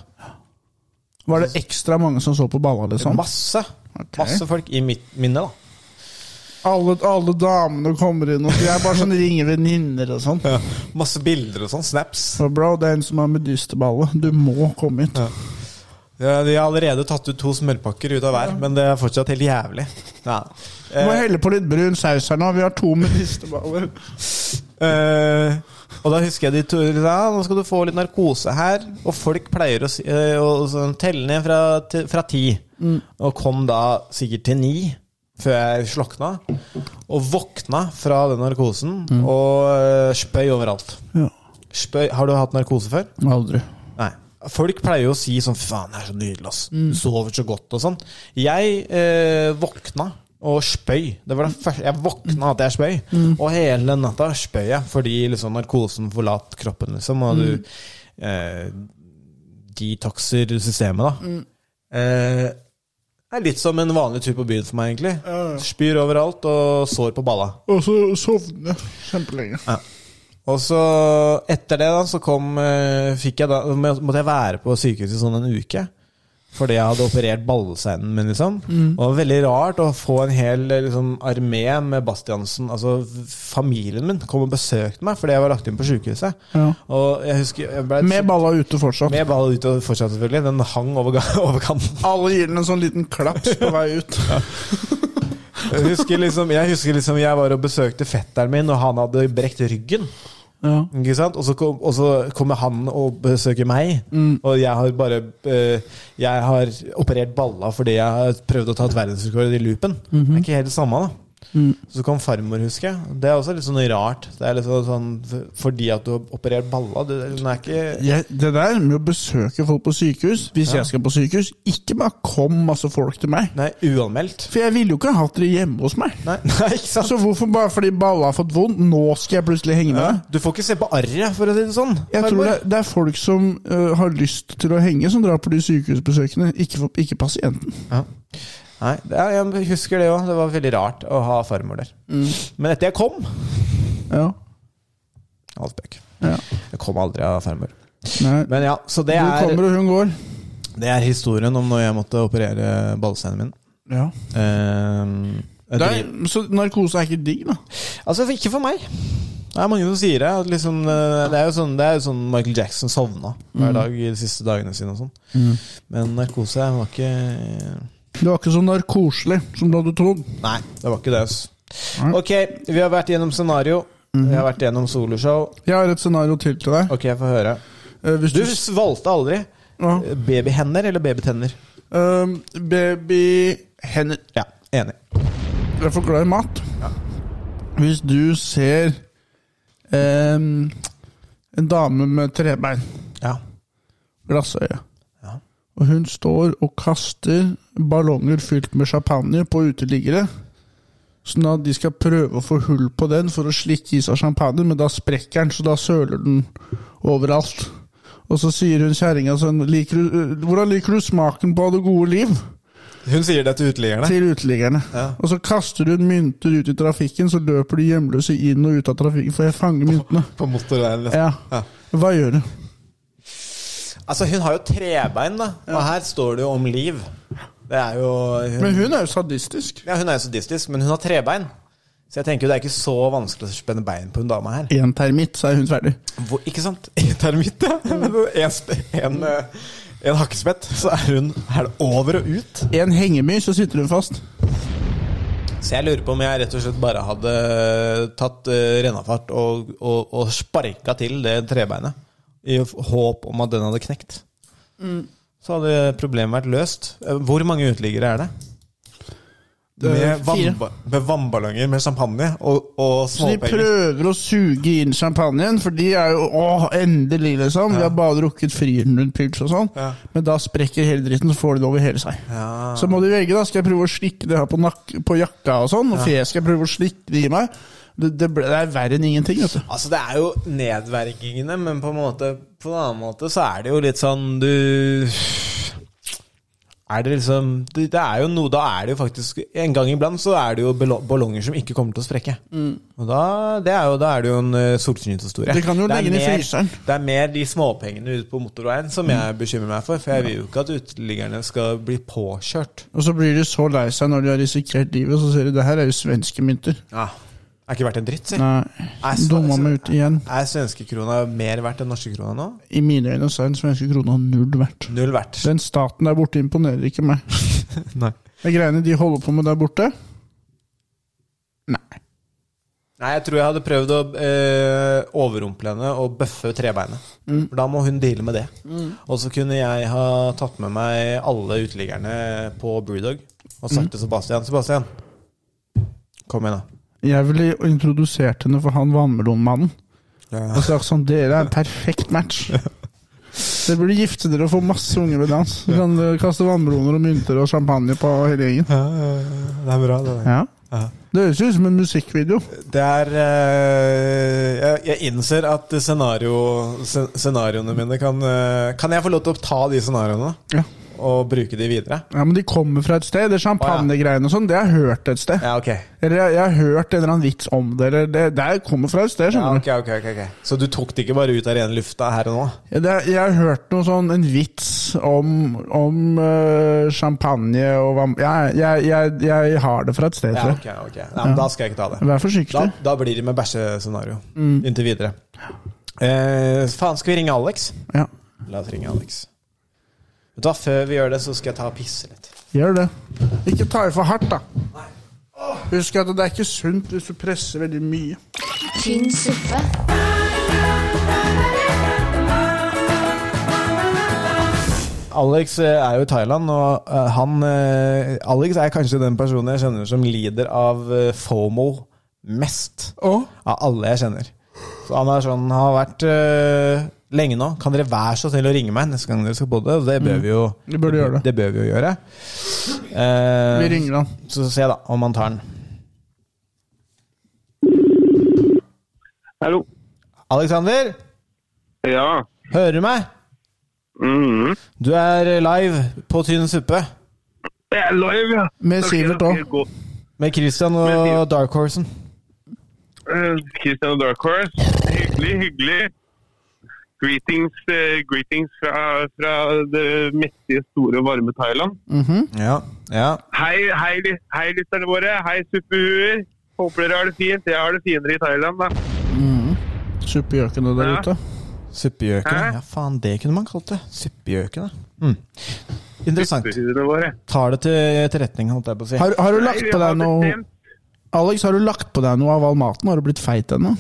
S2: Var det ekstra mange som så på balla, liksom?
S3: Masse Masse folk i mitt minne, da.
S2: Alle, alle damene kommer inn, og de er bare sånn ringer venninner og sånn.
S3: Masse bilder og sånn. Snaps.
S2: Så bro, det er en som har medisterballe. Du må komme hit.
S3: Ja, de har allerede tatt ut to smørpakker ut av hver, men det er fortsatt helt jævlig. Ja.
S2: Du må
S3: Eh,
S2: helle på litt brun saus her nå. Vi har to medisterballer.
S3: Eh, og da husker jeg de to ja, Nå skal du få litt narkose her. Og folk pleier å, si- eh, å sånn, telle ned fra, til, fra ti. Og kom da sikkert til ni før jeg slokna. Og våkna fra den narkosen og eh, spøy overalt.
S2: Ja.
S3: Spøy, har du hatt narkose før?
S2: Aldri.
S3: Nei. Folk pleier jo å si sånn 'faen, det er så nydelig', ass. Du sover så godt og sånn. Jeg eh, våkna og spøy. Det var det første Jeg våkna at jeg spøy, og hele den natta spøy jeg fordi liksom narkosen forlater kroppen, liksom, og du eh, detoxer systemet, da. Eh, det er litt som en vanlig tur på byen for meg, egentlig. Spyr overalt og sår på balla.
S2: Og så sovner jeg kjempelenge.
S3: Og så etter det da, så kom eh, fikk jeg da, må- måtte jeg være på sykehuset sånn en uke. Fordi jeg hadde operert ballesteinen min. liksom.
S2: Mm.
S3: Og det var veldig rart å få en hel eh, liksom, armé med Bastiansen. Altså f- familien min kom og besøkte meg fordi jeg var lagt inn på sykehuset.
S2: Ja.
S3: Og jeg husker jeg ble,
S2: Med balla ute fortsatt.
S3: med ball ut og fortsatt, selvfølgelig. Den hang over, ga- *laughs* over kanten.
S2: Alle gir den en sånn liten klaps på vei ut.
S3: Jeg husker, liksom, jeg husker liksom jeg var og besøkte fetteren min, og han hadde brekt ryggen.
S2: Ja.
S3: Ikke sant? Og så, kom, og så kommer han og besøker meg,
S2: Mm.
S3: og jeg har bare eh, Jeg har operert balla fordi jeg har prøvd å ta et verdensrekord i loopen.
S2: Mhm.
S3: Det er ikke helt det samme, da.
S2: Mm.
S3: Så kom farmor, husker jeg. Det er også litt sånn rart. Det er litt sånn, sånn Fordi at du har operert balla, det, den er ikke
S2: Jeg, det der med å besøke folk på sykehus Hvis jeg skal på sykehus, ikke bare kom masse folk til meg.
S3: Nei, uanmeldt.
S2: For jeg ville jo ikke hatt dere hjemme hos meg.
S3: Nei, *laughs* nei, ikke sant?
S2: Så hvorfor bare fordi balla har fått vondt, nå skal jeg plutselig henge med deg?
S3: Du får ikke se på arret, for å si det sånn.
S2: Jeg tror
S3: farmor.
S2: det er, det er folk som øh, har lyst til å henge, som drar på de sykehusbesøkene, ikke, for, ikke pasienten.
S3: Nei, det er, Jeg husker det òg. Det var veldig rart å ha farmor der.
S2: Mm.
S3: Men etter jeg kom
S2: Ja.
S3: Alt spøk.
S2: Ja.
S3: Jeg kom aldri av farmor.
S2: Nei.
S3: Men ja, så det
S2: Du
S3: er
S2: kommer, og hun går.
S3: Det er historien om når jeg måtte operere ballesteinen min.
S2: Ja.
S3: Ehm,
S2: Det
S3: jeg driver-
S2: er, så narkose er ikke digg, da?
S3: altså, ikke for meg. Det er mange som sier det. At liksom, eh, det, er jo sånn, det er jo sånn Michael Jackson sovna hver
S2: Mm.
S3: dag i de siste dagene sine. og sånn Men narkose var ikke
S2: Det var ikke så narkoselig som du hadde trodd.
S3: Nei, det var ikke det. ass.
S2: Nei. Mm-hmm.
S3: Ok, vi har vært gjennom scenario. Vi har vært gjennom soloshow.
S2: Jeg har et scenario til til deg.
S3: Ok, jeg får høre.
S2: Eh, Hvis du,
S3: Du valgte aldri
S2: ja.
S3: babyhender eller babytenner.
S2: Um, baby
S3: Hen ja, enig.
S2: Jeg er for glad i mat. Hvis du ser em, en dame med trebein,
S3: Ja.
S2: glassøye,
S3: Ja.
S2: og hun står og kaster ballonger fylt med champagne på uteliggere, sånn at de skal prøve å få hull på den for å slikke i seg champagne, men da sprekker den, så da søler den overalt. Og så sier hun kjerringa sånn liker du, 'Hvordan liker du smaken på det gode liv?'
S3: Hun sier det til uteliggerne.
S2: til uteliggerne. Og så kaster hun mynter ut i trafikken, så løper de hjemløse inn og ut av trafikken for å fange myntene.
S3: På motorveien. liksom.
S2: Ja. Hva gjør du?
S3: Altså, hun har jo trebein, da. Og her står det jo om liv. Det er jo hun,
S2: Men hun er jo sadistisk.
S3: ja, hun er jo sadistisk, men hun har trebein. Så jeg tenker jo det er ikke så vanskelig å spenne bein på hun dama her.
S2: Én termitt, så er hun ferdig.
S3: Hvor, ikke *laughs* sant? Mm. En termitt, ja. En, sp- en, eh, en hakkespett, så er hun er det over og ut.
S2: En hengemyr, så sitter hun fast.
S3: Så jeg lurer på om jeg rett og slett bare hadde tatt eh, rennafart og, og, og sparka til det trebeinet. I håp om at den hadde knekt. Så hadde problemet vært løst. Eh, Hvor mange uteliggere er det?
S2: er
S3: Med,
S2: fire.
S3: vannba med vannballonger med champagne og, og
S2: Så de
S3: småpenger.
S2: prøver å suge inn champagnen, for de er jo åh, endelig, liksom. Vi har bare drukket frieren rundt pils og sånn.
S3: Ja.
S2: Men da sprekker hele dritten, så får de det over hele seg.
S3: Ja.
S2: Så må du velge, da. Skal jeg prøve å slikke det her på, nak på jakka og sånn? Og fjes skal jeg prøve å slikke det i meg? Det, det, ble, det er verre enn ingenting, vet du.
S3: Altså, det er jo nedverkingene, men på en måte På en annen måte så er det jo litt sånn Du Er det liksom Det det er jo noe Da er det jo faktisk En gang iblant så er det jo bello- ballonger som ikke kommer til å sprekke.
S2: Mm.
S3: Og da, det er jo, da er det jo en eh, solskinnet historie.
S2: Du kan jo
S3: Det er
S2: legge den i
S3: mer-
S2: fryseren. Mm.
S3: Det er mer de småpengene ute på motorveien som jeg bekymrer meg for. For jeg vil jo ikke at uteliggerne skal bli påkjørt.
S2: Og så blir de så lei seg når de har risikert livet, så sier de det her er jo svenske mynter.
S3: Ja. Er ikke verdt en dritt, si.
S2: Nei,
S3: Er sv-
S2: dumma meg ut igjen.
S3: Er svenskekrona mer verdt enn norske krona nå?
S2: I mine øyne så er den svenske krona null verdt.
S3: Null verdt.
S2: Den staten der borte imponerer ikke meg.
S3: Nei.
S2: De greiene de holder på med der borte Nei.
S3: Nei, jeg tror jeg hadde prøvd å eh, overrumple henne og bøffe trebeinet. For da må hun deale med det. Og så kunne jeg ha tatt med meg alle uteliggerne på Brewdog og sagt til Sebastian Sebastian, kom igjen, da.
S2: Jeg ville introdusert henne for han vannmelonmannen.
S3: Ja.
S2: Og sagt sånn Dere er en perfekt match. Dere burde gifte dere og få masse unger ved dans. Så kan dere kaste vannmeloner og mynter og champagne på hele gjengen.
S3: Det er bra, det
S2: Ja. Det høres jo ut som en musikkvideo.
S3: Det er eh, jeg, jeg innser at scenario, scen- scenarioene mine kan eh, Kan jeg få lov til å ta de scenarioene
S2: Ja.
S3: og bruke de videre?
S2: Ja, men de kommer fra et sted. Det champagnegreiene og sånn, det har jeg hørt et sted.
S3: Ja, ok.
S2: Eller jeg, jeg har hørt en eller annen vits om det, eller det, det er- kommer fra et sted,
S3: Ja,
S2: skjønner du.
S3: ok, ok, ok, ok. Så du tok det ikke bare ut av rene lufta her og nå?
S2: Ja, det, er- jeg har hørt noe sånn, en vits om, om eh, champagne og vann... Jeg, jeg, jeg, jeg har det fra et sted,
S3: Ja,
S2: tror
S3: ok,
S2: jeg.
S3: ok. Nei, men Da skal jeg ikke ta det.
S2: Vær forsiktig.
S3: Da, da blir det med bæsjescenario inntil videre. Eh, faen, skal vi ringe Alex?
S2: Ja,
S3: La oss ringe Alex. Vet du hva, Før vi gjør det, så skal jeg ta og pisse litt.
S2: gjør det. Ikke ta i for hardt, da. Husk at det er ikke sunt hvis du presser veldig mye.
S1: Tynn suppe.
S3: Alex eh, er jo i Thailand, og eh, han eh, Alex er kanskje den personen jeg kjenner som lider av eh, FOMO mest.
S2: Å?
S3: Av alle jeg kjenner. Så han er sånn, har vært eh, lenge nå. Kan dere være så snill å ringe meg neste gang dere skal på det? Og Det bør vi jo,
S2: Vi burde gjøre Mm. det.
S3: det bør vi jo gjøre. Eh,
S2: Vi ringer han.
S3: Så se da om han tar den.
S9: Hallo?
S3: Alexander,
S9: Ja.
S3: hører du meg?
S9: Mhm.
S3: Du er live på Tynn suppe
S9: Det er live, ja.
S2: Med Sivert
S9: da.
S2: òg.
S3: med Christian og Dark
S2: *laughs*
S3: Horsen.
S9: Christian og Dark Horse. Hyggelig, hyggelig. Greetings, eh, greetings fra, fra det mektige, store, varme Thailand.
S3: Ja, ja.
S9: Hei, hei, ly- hei lytterne våre. Hei, suppehuer. Håper dere har det fint. Jeg har det finere i Thailand, da.
S2: Suppegjøkene der
S9: Ja.
S2: ute.
S3: Suppegjøkene.
S9: Hæ?
S3: Ja, faen, det kunne man kalt det. Suppegjøkene. Mm. Interessant.
S9: Suppehuene våre.
S3: Tar det til etterretning, holdt jeg på å si.
S2: Har, har du lagt
S9: Nei, vi
S2: på
S9: har
S2: deg noe
S9: bestemt-
S2: Alex, har du lagt på deg noe av all maten? Har du blitt feit ennå?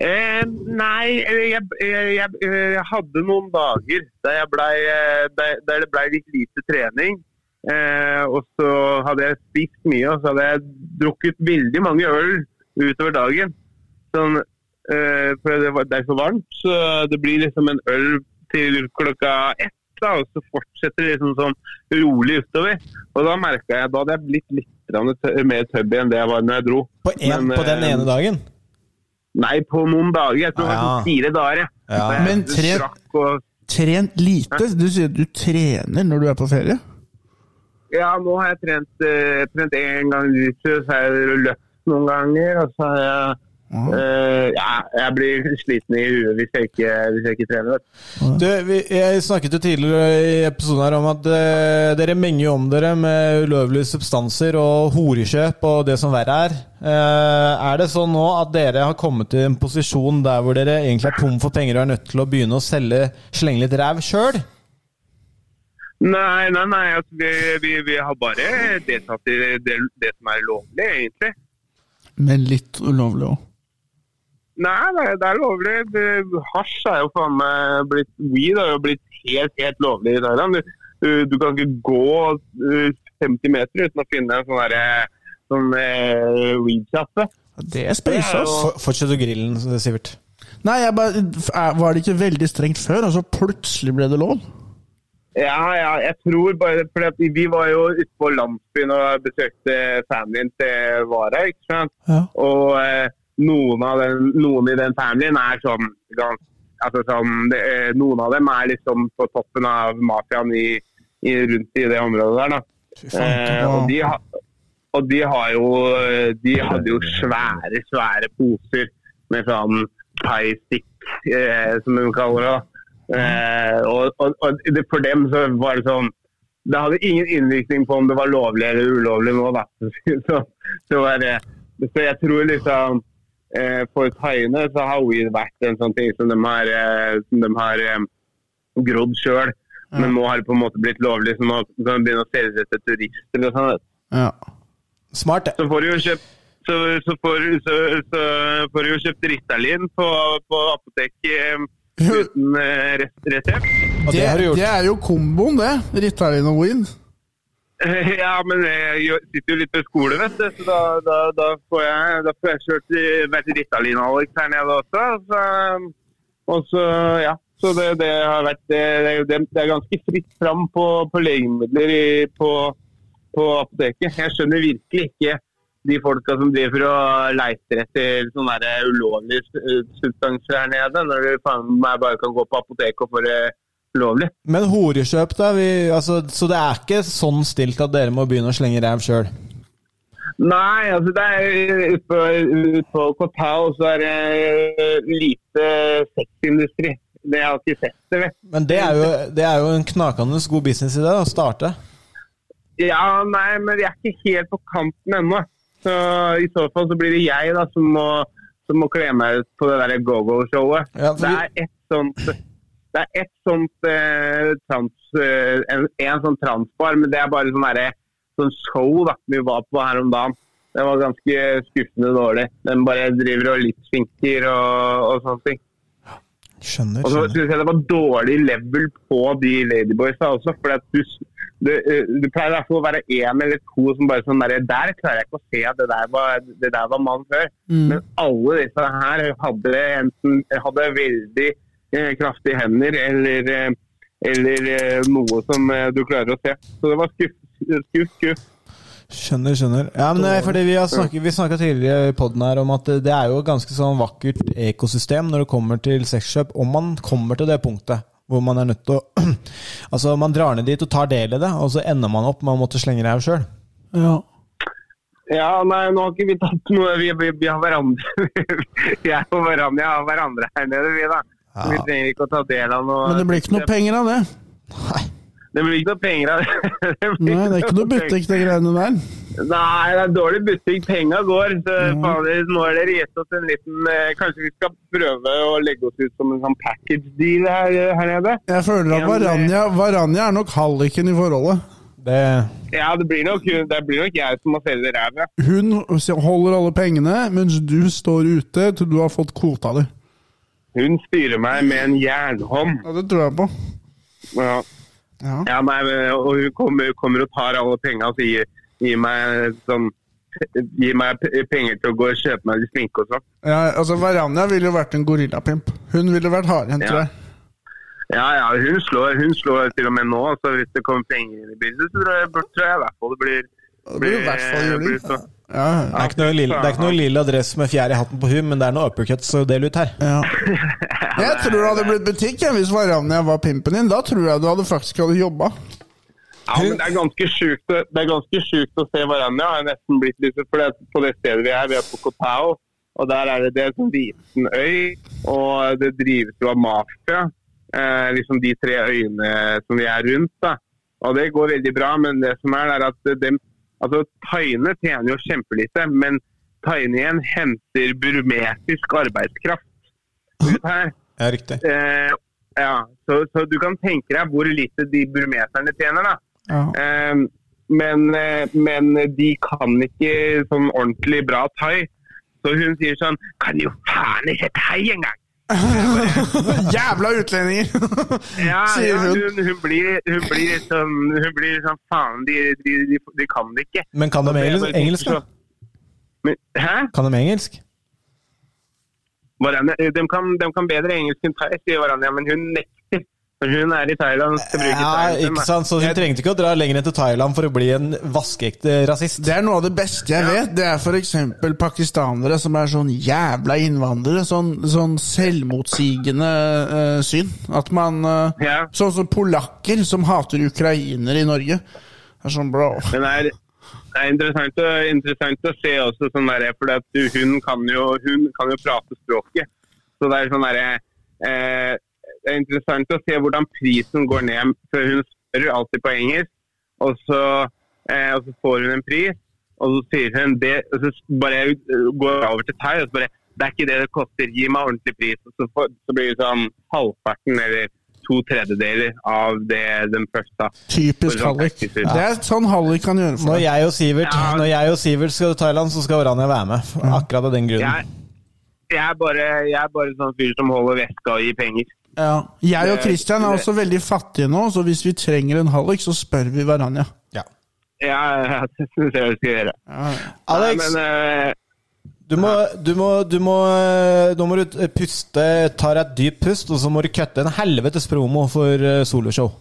S9: Eh, nei, eh, jeg, jeg, jeg, eh, jeg hadde noen dager der, jeg blei, eh, der, der det blei litt lite trening. Eh, og så hadde jeg spist mye, og så hadde jeg drukket veldig mange øl utover dagen. Sånn, eh, for det var, det er så varmt, så det blir liksom en øl til klokka ett. Da, og så fortsetter det liksom sånn rolig utover. Og da merket jeg da hadde jeg blitt litt grann tø- mer tubby enn det jeg var når jeg dro.
S3: På, en,
S9: Men,
S3: på den
S9: eh,
S3: ene dagen?
S9: Nei, på noen dager. Jeg tror det var
S3: Ja.
S9: sånn fire dager. jeg.
S3: Ja.
S9: Jeg
S2: Men tre-
S9: drakk og,
S2: Trent lite? Du sier du trener når du er på ferie?
S9: ja, nå har jeg trent, eh, trent en gang i uke, så har jeg løpt noen ganger. Og så har jeg eh, ja, jeg blir sliten i huet hvis jeg ikke, hvis jeg ikke trener. vet du.
S3: Du, vi, jeg snakket jo tidligere i episoden her om at eh, dere menger jo om dere med ulovlige substanser og horekjøp og det som verre er. Eh, er det sånn nå at dere har kommet til en posisjon der hvor dere egentlig er tom for penger og er nødt til å begynne å selge, slenge litt ræv sjøl?
S9: Nei, nei, nei. Altså, vi, vi, vi har bare deltatt i det, det som er lovlig, egentlig.
S2: Men litt ulovlig òg.
S9: Nei, nei, det er lovlig. Det- Hasj er jo faen meg blitt Weed har jo blitt helt, helt lovlig i Thailand. Du, du, du kan ikke gå uh, 50 meter uten å finne en sånn derre sånn eh, weed-kjappe.
S2: Det er space, ass.
S3: For, fortsett å grille den, Sivert.
S2: Nei, jeg bare, er- var det ikke veldig strengt før, og så plutselig ble det lov?
S9: Ja, ja, jeg tror bare fordi at vi var jo ute på landsbyen og besøkte familien til Vara, ikke sant.
S2: Ja.
S9: Og eh, noen, av den, noen i den familien er sånn gans- altså sånn, det, eh, Noen av dem er liksom på toppen av mafiaen i, i, rundt i det området der. da. Eh, og, de ha, og de har jo eh, De hadde jo svære, svære poser med sånn pie-stick, eh, som de kaller det. da. Eh, og, og, og det, for dem så var det sånn Det hadde ingen innvirkning på om det var lovlig eller ulovlig nå, da. Så, sånn. så, var det, så jeg tror liksom eh, For thaiene så har weed vært en sånn ting som de har, eh, som de har eh, grodd sjøl. Men nå har det på en måte blitt lovlig, så nå kan de begynne å selge det til turister. og sånn. vet du.
S2: Ja.
S3: Smart, det.
S9: Så får du jo kjøpt så, så, får, så, så får du jo kjøpt Ritalin på, på apoteket eh, uten eh, res- resept.
S3: Og det, har du gjort.
S2: det er jo komboen, det. Ritalin og weed.
S9: *laughs* Ja, men jeg gjør- sitter jo litt på skole, vet du. Så da, da, da, får, jeg, da får jeg kjørt i- vært Ritalin-Alex her nede også. Så, um, og så, ja. Så det, det har vært Det, det, det er ganske fritt fram på, på legemidler i, på, på apoteket. Jeg skjønner virkelig ikke de folka som driver og leiter etter sånne der ulovlige s- eh, substanser her nede, når du faen meg bare kan gå på apoteket og få det lovlig.
S3: Men horekjøp, da? Vi, altså, så det er ikke sånn stilt at dere må begynne å slenge ræv sjøl?
S9: Nei, altså det er ute på, ut på Kotao så er det eh, lite sexindustri. Det har jeg ikke sett det, vet du.
S3: Men det er, jo, det er jo en knakende god business i det, å starte.
S9: Ja, nei, men jeg er ikke helt på kanten ennå. Så i så fall så blir det jeg da som må, som må kle meg ut på det der go-go-showet.
S3: Ja, for
S9: Det
S3: vi-
S9: er ett sånt det er ett sånt eh, trans, eh, en, en sånn transbar, men det er bare sånn derre sånn show da, vi var på her om dagen. Det var ganske skuffende dårlig. Den bare driver og lipsynker og, og sånne ting.
S3: Skjønner.
S9: Og så
S3: skjønner.
S9: synes jeg det var dårlig level på de Ladyboysa også. For at du, du, du pleier i hvert fall å være én eller to som bare sånn der Der klarer jeg ikke å se at det der var, det der var mann før.
S3: Mm.
S9: Men alle disse her hadde enten hadde veldig eh, kraftige hender eller, eh, eller eh, noe som eh, du klarer å se. Så det var skuff, skuff, skuff.
S3: Skjønner, skjønner. Ja, men det er fordi Vi har snakket, vi snakket tidligere i podden her om at eh, det er jo et ganske sånn vakkert ekosystem når det kommer til sexkjøp, om man kommer til det punktet hvor man er nødt til å *clears throat* Altså, man drar ned dit og tar del i det, og så ender man opp med å måtte slenge ræv sjøl.
S2: Ja.
S9: Ja, nei, nå har ikke vi tatt noe. Vi, vi, vi har hverandre. *laughs* Jeg og hverandre jeg har hverandre her nede, vi da. Så Vi trenger ikke å ta del av noe.
S2: Men det blir ikke noe penger av det.
S9: Det blir ikke noe penger av *laughs* det. det blir
S2: Nei, det er ikke noe butikk, det greiene der.
S9: Nei, det er dårlig butikk. Penga går. Så
S2: Mm.
S9: fader, nå har dere gitt oss en liten eh, Kanskje vi skal prøve å legge oss ut som en sånn package deal her, her nede?
S2: Jeg føler at
S9: Ja, men det-
S2: Varanja, Varanja er nok halliken i forholdet.
S3: Det,
S9: Ja, det blir nok, det blir nok jeg som må selge ræva.
S2: Hun holder alle pengene, mens du står ute til du har fått kvota di.
S9: Hun styrer meg med en jernhånd.
S2: Ja, det tror jeg på.
S9: Ja.
S2: Ja.
S9: Ja, nei, men- og hun kommer, kommer og tar alle penga og sier gi meg sånn Gi meg p- penger til å gå og kjøpe meg litt sminke og sånn.
S2: Ja, altså, Varanja ville jo vært en gorillapimp. Hun ville vært hardhendt,
S9: Ja.
S2: tror jeg.
S9: Ja, ja, hun slår, hun slår til og med nå, så hvis det kommer penger i bildet, så tror jeg, tror jeg i hvert fall det blir
S2: Det blir jo i hvert fall juling.
S9: blir så- *laughs*
S2: Ja,
S3: det, er ikke noe lilla, det er ikke noe lilla dress med fjær i hatten på hun, men det er noe uppercuts å dele ut her.
S2: ja. Jeg tror det hadde blitt butikk jeg, hvis Varanja var pimpen din. Da tror jeg du hadde faktisk hadde jobba.
S9: Ja, men det er ganske sjukt, å- det er ganske sjukt å se hverandre. Jeg har nesten blitt litt, for det, på det stedet vi er, vi er på Kotao, og der er det, det er en sånn liten øy, og det drives jo av mafia. Eh, liksom de tre øyene som vi er rundt. da. Og det går veldig bra, men det som er, er at dem, altså, thaiene tjener jo kjempelite, men thaiene igjen henter burmesisk arbeidskraft ut her.
S3: Ja, riktig.
S9: Eh, ja, så, så du kan tenke deg hvor lite de burmeserne tjener, da.
S2: Ja.
S9: Eh, men, eh, men de kan ikke sånn ordentlig bra thai. Så hun sier sånn Kan jo faen ikke thai engang!
S2: *laughs* Jævla utlendinger!
S9: Ja,
S2: Sier
S9: ja,
S2: hun.
S9: hun, hun, blir, hun blir sånn Hun blir sånn Faen, de, de, de, de kan det ikke.
S3: Men kan de
S9: Så jeg
S3: engelsk?
S9: bare tenker
S3: engelsk da?
S9: sånn, Men, hæ?
S3: Kan de engelsk?
S9: Varane, eh, de, kan, de kan bedre engelsk enn thai, sier Varanja, men hun nekter. For hun er i Thailand og skal bruke
S3: Ja,
S9: thai. liksom,
S3: ikke sant? Så hun trengte ikke å dra lenger enn til Thailand for å bli en vaskeekte rasist.
S2: *laughs* Det er noe av det beste jeg vet. Det er f.eks. pakistanere som er sånn jævla innvandrere. Sånn, sånn selvmotsigende eh, syn. At man eh,
S9: Ja.
S2: Sånn som polakker som hater ukrainere i Norge. Det er sånn, bro.
S9: Men det er, det er interessant, å, interessant å se også sånn der, for at du- hun, kan jo, hun kan jo prate språket. Så det er sånn derre eh, Det er interessant å se hvordan prisen går ned. For hun spør jo alltid på engelsk, og så, eh, og så får hun en pris. Og så sier hun det, og så bare eh, går jeg over til thai og så bare Det er ikke det det koster, gi meg ordentlig pris. Og så, får, så blir det sånn halvparten eller to tredjedeler av det den første.
S2: Typisk
S9: Sånn
S2: hallik.
S9: ekte syn.
S2: Det er sånn hallik kan gjøre for
S3: Når
S2: deg.
S3: jeg og Sivert,
S9: Ja.
S3: når jeg og Sivert skal til Thailand, så skal Orania være med. Akkurat av den grunnen.
S9: Jeg, jeg, er bare, jeg er bare sånn fyr som holder veska og gir penger.
S2: Ja. Jeg og
S9: Det-
S2: Christian er også veldig fattige nå, så hvis vi trenger en hallik, så spør vi Varanja.
S3: Ja.
S9: Ja, *laughs* det syns jeg vi skal gjøre.
S3: Alex,
S9: Nei, men, eh,
S3: du må, du må, du må eh, Nå må du puste, ta deg et dypt pust, og så må du kutte en helvetes promo for eh, soloshow.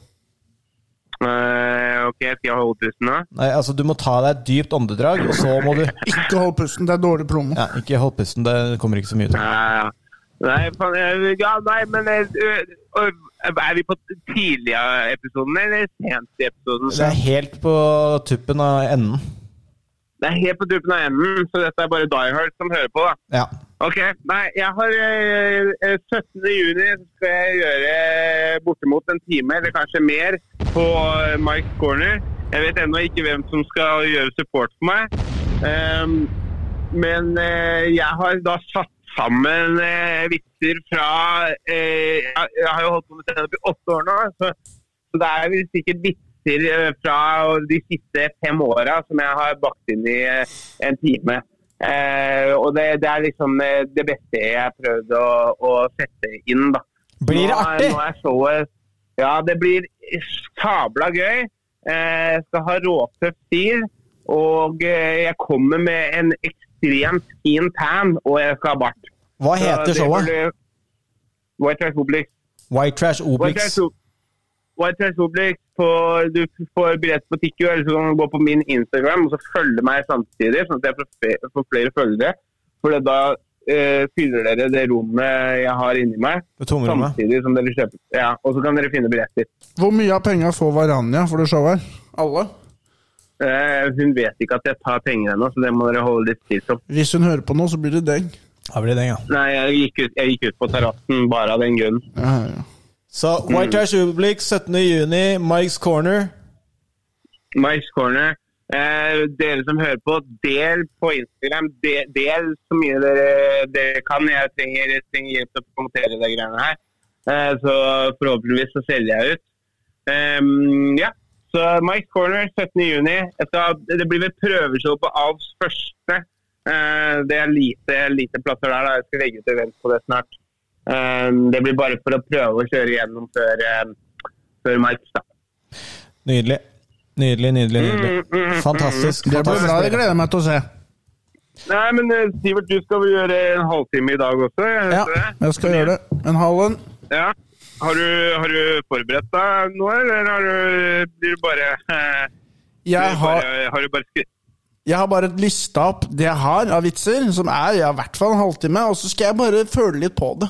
S9: eh, OK, skal jeg holde pusten nå?
S3: Nei, altså, du må ta deg et dypt åndedrag, og så må du
S2: Ikke hold pusten, det er dårlig promo.
S3: Ja, ikke hold pusten, det kommer ikke så mye til.
S9: Ja, ja. Nei, faen, jeg- ja, nei, men eh, ø- ø- Er vi på tidligere episoden eller sent i episoden?
S3: Det er helt på tuppen av enden.
S9: Det er helt på tuppen av enden, så dette er bare Die Hard som hører på. da.
S3: Ja.
S9: Ok, nei, jeg har eh, eh, 17. juni så skal jeg gjøre eh, bortimot en time, eller kanskje mer, på eh, Mike's Corner. Jeg vet ennå ikke hvem som skal gjøre support for meg. Ehm, men eh, jeg har da satt sammen eh, vitser fra eh, jeg, jeg har jo holdt på med standup i åtte år nå, så, så det er vel sikkert vitser eh, fra de siste fem åra som jeg har bakt inn i eh, en time. Eh, og det, det er liksom eh, det beste jeg har prøvd å, å sette inn. da.
S3: Blir det
S9: Nå er-
S3: artig?
S9: Nå er showet Ja, det blir sabla gøy. Eh, skal ha råtøff stil. Og eh, jeg kommer med en ekstremt fin tan, og jeg skal ha bart.
S3: Hva heter showet?
S9: White Trash Obelix.
S3: White Trash
S9: White
S3: Obelix.
S9: Trash Ob- White Trash Obelix. på- Du får billett på Tikkio, eller så kan du gå på min Instagram og så følge meg samtidig, sånn at jeg får fe- får flere følgere. For da eh, fyller dere det rommet jeg har inni meg,
S3: Det tomrommet.
S9: samtidig som dere kjøper. Ja, og så kan dere finne billetter.
S2: Hvor mye av penga får Varanja for det showet her? Alle?
S9: Eh, hun vet ikke at jeg tar penger ennå, så det må dere holde litt stilt opp.
S2: Hvis hun hører på nå, så blir det deg.
S3: Ja, blir det, ja.
S9: Nei, jeg gikk ut, jeg gikk ut på terrassen bare av den grunnen.
S2: Ja, ja.
S3: Så White Trash Obelix 17. juni, Mike's Corner.
S9: Mice Corner. Eh, dere som hører på, del på Instagram. Del, del så mye dere, dere kan. Jeg trenger, jeg trenger hjelp til å promotere de greiene her. Eh, så forhåpentligvis så selger jeg ut. Ehm, ja. Så Mike's Corner 17.6. Jeg skal- Det blir vel prøveshow på Avs første. Eh, Det er lite, lite plasser der. da. Jeg skal legge ut event på det snart. Eh, Det blir bare for å prøve å kjøre gjennom før, eh, før Mike's. da.
S3: Nydelig. Nydelig, nydelig,
S9: Mm,
S3: nydelig. Fantastisk.
S2: Det blir
S3: fantastisk.
S2: bra. Det gleder jeg meg til å se.
S9: Nei, men eh, Sivert, du skal vel gjøre en halvtime i dag også? jeg
S2: Ja,
S9: hørte det.
S2: jeg skal gjøre det. En halv en.
S9: Ja. Har du, har du forberedt deg nå, eller har du, blir du bare, *laughs* eh,
S2: Jeg
S9: blir du
S2: har,
S9: bare, har du bare skri-
S2: jeg har bare lista opp det jeg har av vitser, som er ja, i hvert fall en halvtime, og så skal jeg bare føle litt på det.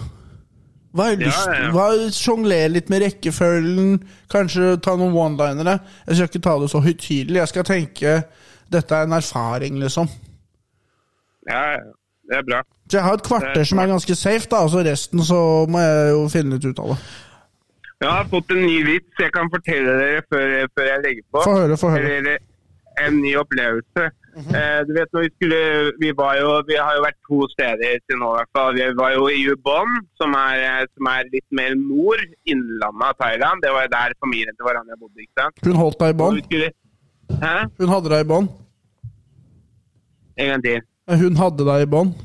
S2: Hva har jeg
S9: Ja,
S2: lyst
S9: ja.
S2: hva- Sjonglere litt med rekkefølgen, kanskje ta noen one-linere. Jeg skal ikke ta det så høytidelig. Jeg skal tenke dette er en erfaring, liksom.
S9: Ja, ja. det er bra.
S2: Så jeg har et kvarter som er ganske safe, da, og så resten så må jeg jo finne litt ut av det.
S9: Jeg har fått en ny vits jeg kan fortelle dere før, før jeg legger på.
S2: Få høre, få høre. Mhm.
S9: Eller en ny opplevelse. eh, du vet når Vi skulle, vi var jo, vi har jo vært to steder til nå i hvert fall. Vi var jo i Ubon, som er, eh, som er litt mer nord, innlandet av Thailand. Det var jo der familien til hverandre bodde. ikke sant?
S2: Hun holdt deg i
S9: Og vi
S2: bånd.
S9: skulle, hæ?
S2: Hun hadde deg i bånd.
S9: En gang til.
S2: Hun hadde deg i bånd.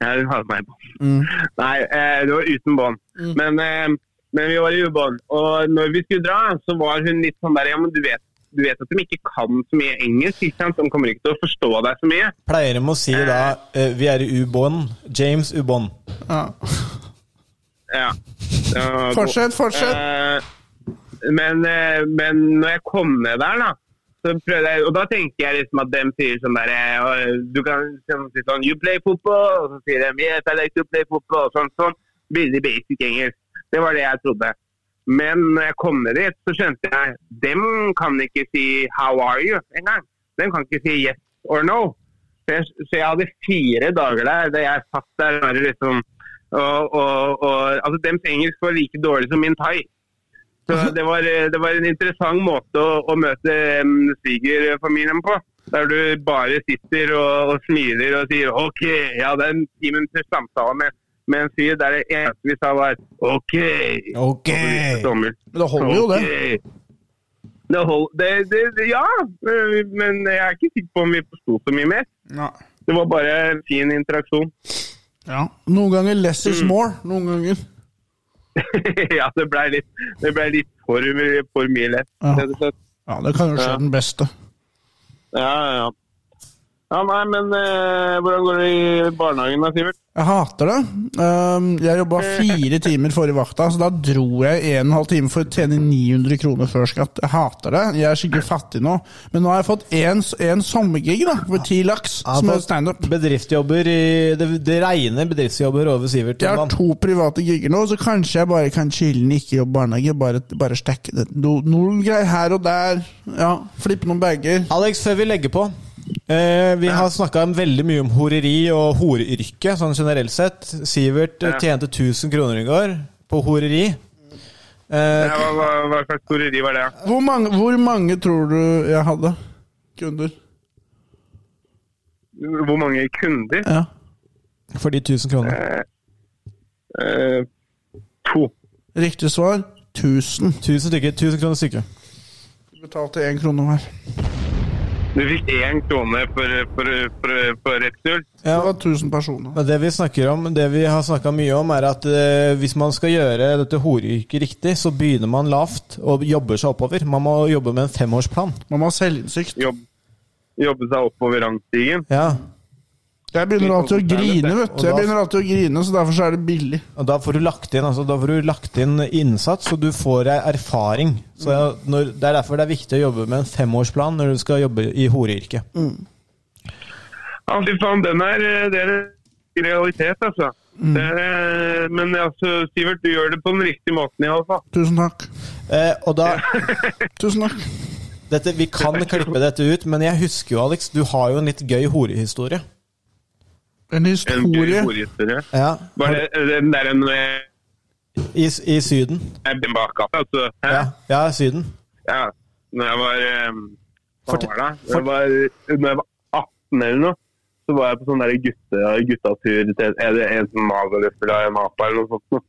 S9: Ja, hun hadde meg i bånd.
S2: Mm.
S9: Nei, eh, det var uten bånd. Men, eh, men vi var i ubånd. Og når vi skulle dra, så var hun litt sånn der Ja, men du vet, du vet at de ikke kan så mye engelsk, ikke sant? De kommer ikke til å forstå deg så mye.
S3: Pleier de å si da eh, Vi er i Ubånd. James Ubånd.
S2: Ja.
S9: Ja. Det var god.
S2: Fortsett, fortsett.
S9: Eh, men, eh, men når jeg kom ned der, da så prøvde jeg, og da tenker jeg liksom at de sier sånn der eh, og Du kan sånn si sånn You play football? Og så sier de Yes, I like to play football. Og sånn, sånn. Veldig basic engelsk. Det var det jeg trodde. Men når jeg kom ned dit, så skjønte jeg dem kan ikke si How are you? engang. De kan ikke si yes or no. Så jeg, så jeg hadde fire dager der der jeg satt der bare liksom og, og, og, altså Deres engelsk var like dårlig som min thai. Så det var, det var en interessant måte å, å møte em, svigerfamilien på. Der du bare sitter og, og smiler og sier OK, ja, det er en time til samtale med, med en fyr der det eneste vi sa var OK.
S3: Ok!
S9: Sommer.
S2: Men det holder jo, det.
S9: Ok. Det hold, det, det, det. Ja, men jeg er ikke sikker på om vi forsto så mye mer.
S2: Ja.
S9: Det var bare en fin interaksjon. *laughs*
S2: Ja. Noen ganger less is more. Noen ganger.
S9: ja, det ble litt, det ble litt for, mye- for mye lett,
S2: Ja.
S9: rett og slett.
S2: Ja, det kan jo skje
S9: Ja.
S2: den beste.
S9: Ja, ja. Ja, nei, men eh, hvordan går det i barnehagen da, Sivert?
S2: Jeg hater det. Ehm, jeg jobba fire timer forrige vakta, så da dro jeg en og en halv time for å tjene 900 kroner før skatt. Jeg hater det. Jeg er skikkelig fattig nå. Men nå har jeg fått én en sommergig da, for ti laks, som er standup.
S3: Bedriftsjobber i Det, det regner bedriftsjobber over Sivert.
S2: Jeg har
S3: Johan.
S2: to private gigger nå, så kanskje jeg bare kan chille'n, ikke jobbe barnehage. Bare, bare stekke det. No, noen greier her og der. Ja, Flippe noen bager.
S3: Alex, før vi legger på eh, Vi har snakka veldig mye om horeri og horeyrket sånn generelt sett. Sivert eh,
S9: Ja.
S3: tjente 1000 kroner i går på horeri.
S9: Ja,
S3: Eh,
S9: hva, hva, hva slags storeri var det?
S2: Hvor mange, hvor mange tror du jeg hadde kunder?
S9: Hvor mange kunder?
S2: Ja.
S3: for de 1000 kronene.
S9: Eh, to.
S2: Riktig svar 1000.
S3: 1000 stykker, 1000 kroner stykket.
S2: Betalte én krone hver.
S9: Du fikk én krone for, for, for, for retur.
S2: Det
S3: Ja,
S2: var 1000 personer.
S3: Men det vi snakker om, det vi har snakka mye om, er at eh, hvis man skal gjøre dette horeyrket riktig, så begynner man lavt og jobber seg oppover. Man må jobbe med en femårsplan.
S2: Man må ha selvinnsikt.
S9: Jobb, jobbe seg oppover rangstigen.
S3: Ja,
S2: Jeg begynner alltid å grine, vet du. Jeg begynner alltid å grine, så derfor så er det billig.
S3: og Da får du lagt inn, altså, da får du lagt inn innsats, og du får ei erfaring. Så ja, når, Det er derfor det er viktig å jobbe med en femårsplan når du skal jobbe i horeyrket.
S9: Ja, fy faen, den er, eh, det er en realitet, altså.
S3: Mm.
S9: Det er, eh, men altså, Sivert, du gjør det på den riktige måten i alle fall.
S2: Tusen takk.
S3: Eh, og da,
S2: Tusen takk.
S3: dette, Vi kan klippe dette ut, men jeg husker jo, Alex, du har jo en litt gøy horehistorie.
S2: En
S9: En gøy
S2: historie.
S9: horehistorie.
S3: Ja,
S9: Var det eh, den der en eh,
S3: I, i Syden.
S9: en bakgata, altså? Hæ?
S3: Ja, ja Syden.
S9: ja. Når jeg var eh, Hva
S3: Fortell-
S9: var det? Når jeg var, når jeg var 18 eller noe, så var jeg på sånn der gutte, sånn guttatur til er det en som mageløfla en apa eller noe sånt. noe.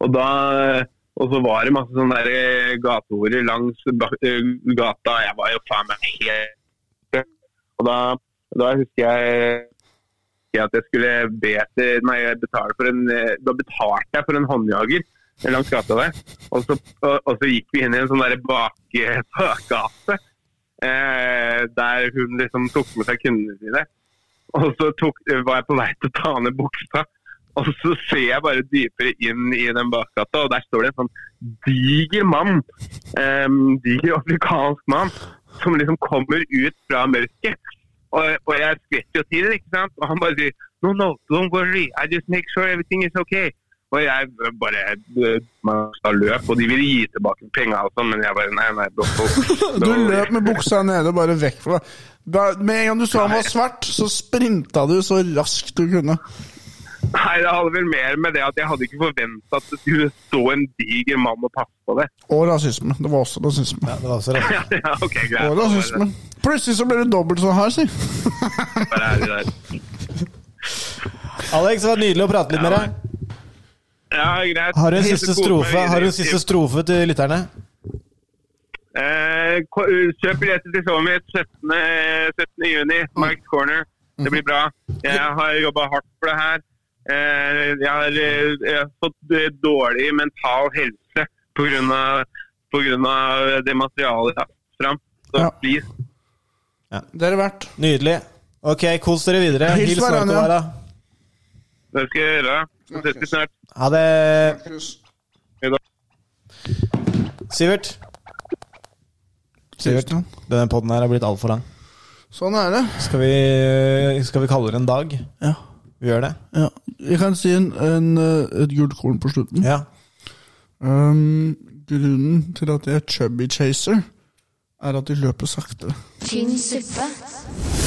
S9: Og da, Og så var det masse sånne der eh, gatehorer langs ba- eh, gata. Jeg var jo faen meg helt Og da, da husker jeg husker jeg at jeg skulle be til Nei, jeg betalte for en eh, Da betalte jeg for en håndjager langs gata der. Og så, og, og så gikk vi inn i en sånn der bak, bakgate eh, der hun liksom tok med seg kundene sine. Og så tok, var jeg på vei til å ta ned buksa, og så ser jeg bare dypere inn i den bakgata, og der står det en sånn diger mann, eh, diger afrikansk mann, som liksom kommer ut fra mørket. Og, og jeg skvetter jo til, ikke sant? Og han bare sier No, no, don't worry. I just make sure everything is okay. Og jeg bare eh, man sa løp, og de ville gi tilbake penga og sånn, men jeg bare Nei, nei, don't-
S2: *laughs* Du
S9: don't-
S2: løp med buksa nede og bare vekk fra da, Med en gang du så han var svart, så sprinta du så raskt du kunne.
S9: Nei, det hadde vel mer med det at jeg hadde ikke forventa at det skulle stå en diger mann og passe på det. *laughs*
S2: Og rasisme. Det var også rasisme.
S3: Det var også rart.
S9: ja, ok, greit.
S2: Og rasisme. Plutselig så ble du dobbelt så hard, si.
S9: Bare er det der.
S3: Alex, det var nydelig å prate litt med deg.
S9: Ja, greit.
S3: Har du en
S9: Helt
S3: siste
S9: kos meg
S3: strofe,
S9: videre.
S3: har du en siste strofe til lytterne?
S9: Eh, ko- kjøp billetter til showet mitt 17. 17. juni. Mike's Corner. Det blir bra. Jeg har jobba hardt for det her. Eh, jeg, har, eh, jeg har fått eh, dårlig mental helse pga. det materialet jeg har lagt fram. Så
S2: Ja.
S9: please,
S2: Det er det verdt.
S3: Nydelig. Ok, kos dere videre.
S2: Hils
S3: Hils
S2: hverandre.
S3: Narkovara.
S9: det skal jeg gjøre. Så ses vi snart.
S3: Ha det. Sivert. Sivert,
S2: Kristian.
S3: denne podden her har blitt altfor lang.
S2: Sånn er det.
S3: Skal vi, skal vi kalle det en dag?
S2: Ja.
S3: Vi gjør det?
S2: ja. Jeg kan si en, en, eh, et gult korn på slutten.
S3: Ja.
S2: Um, grunnen til at jeg er chubby chaser, er at de løper saktere.
S1: Tynn suppe.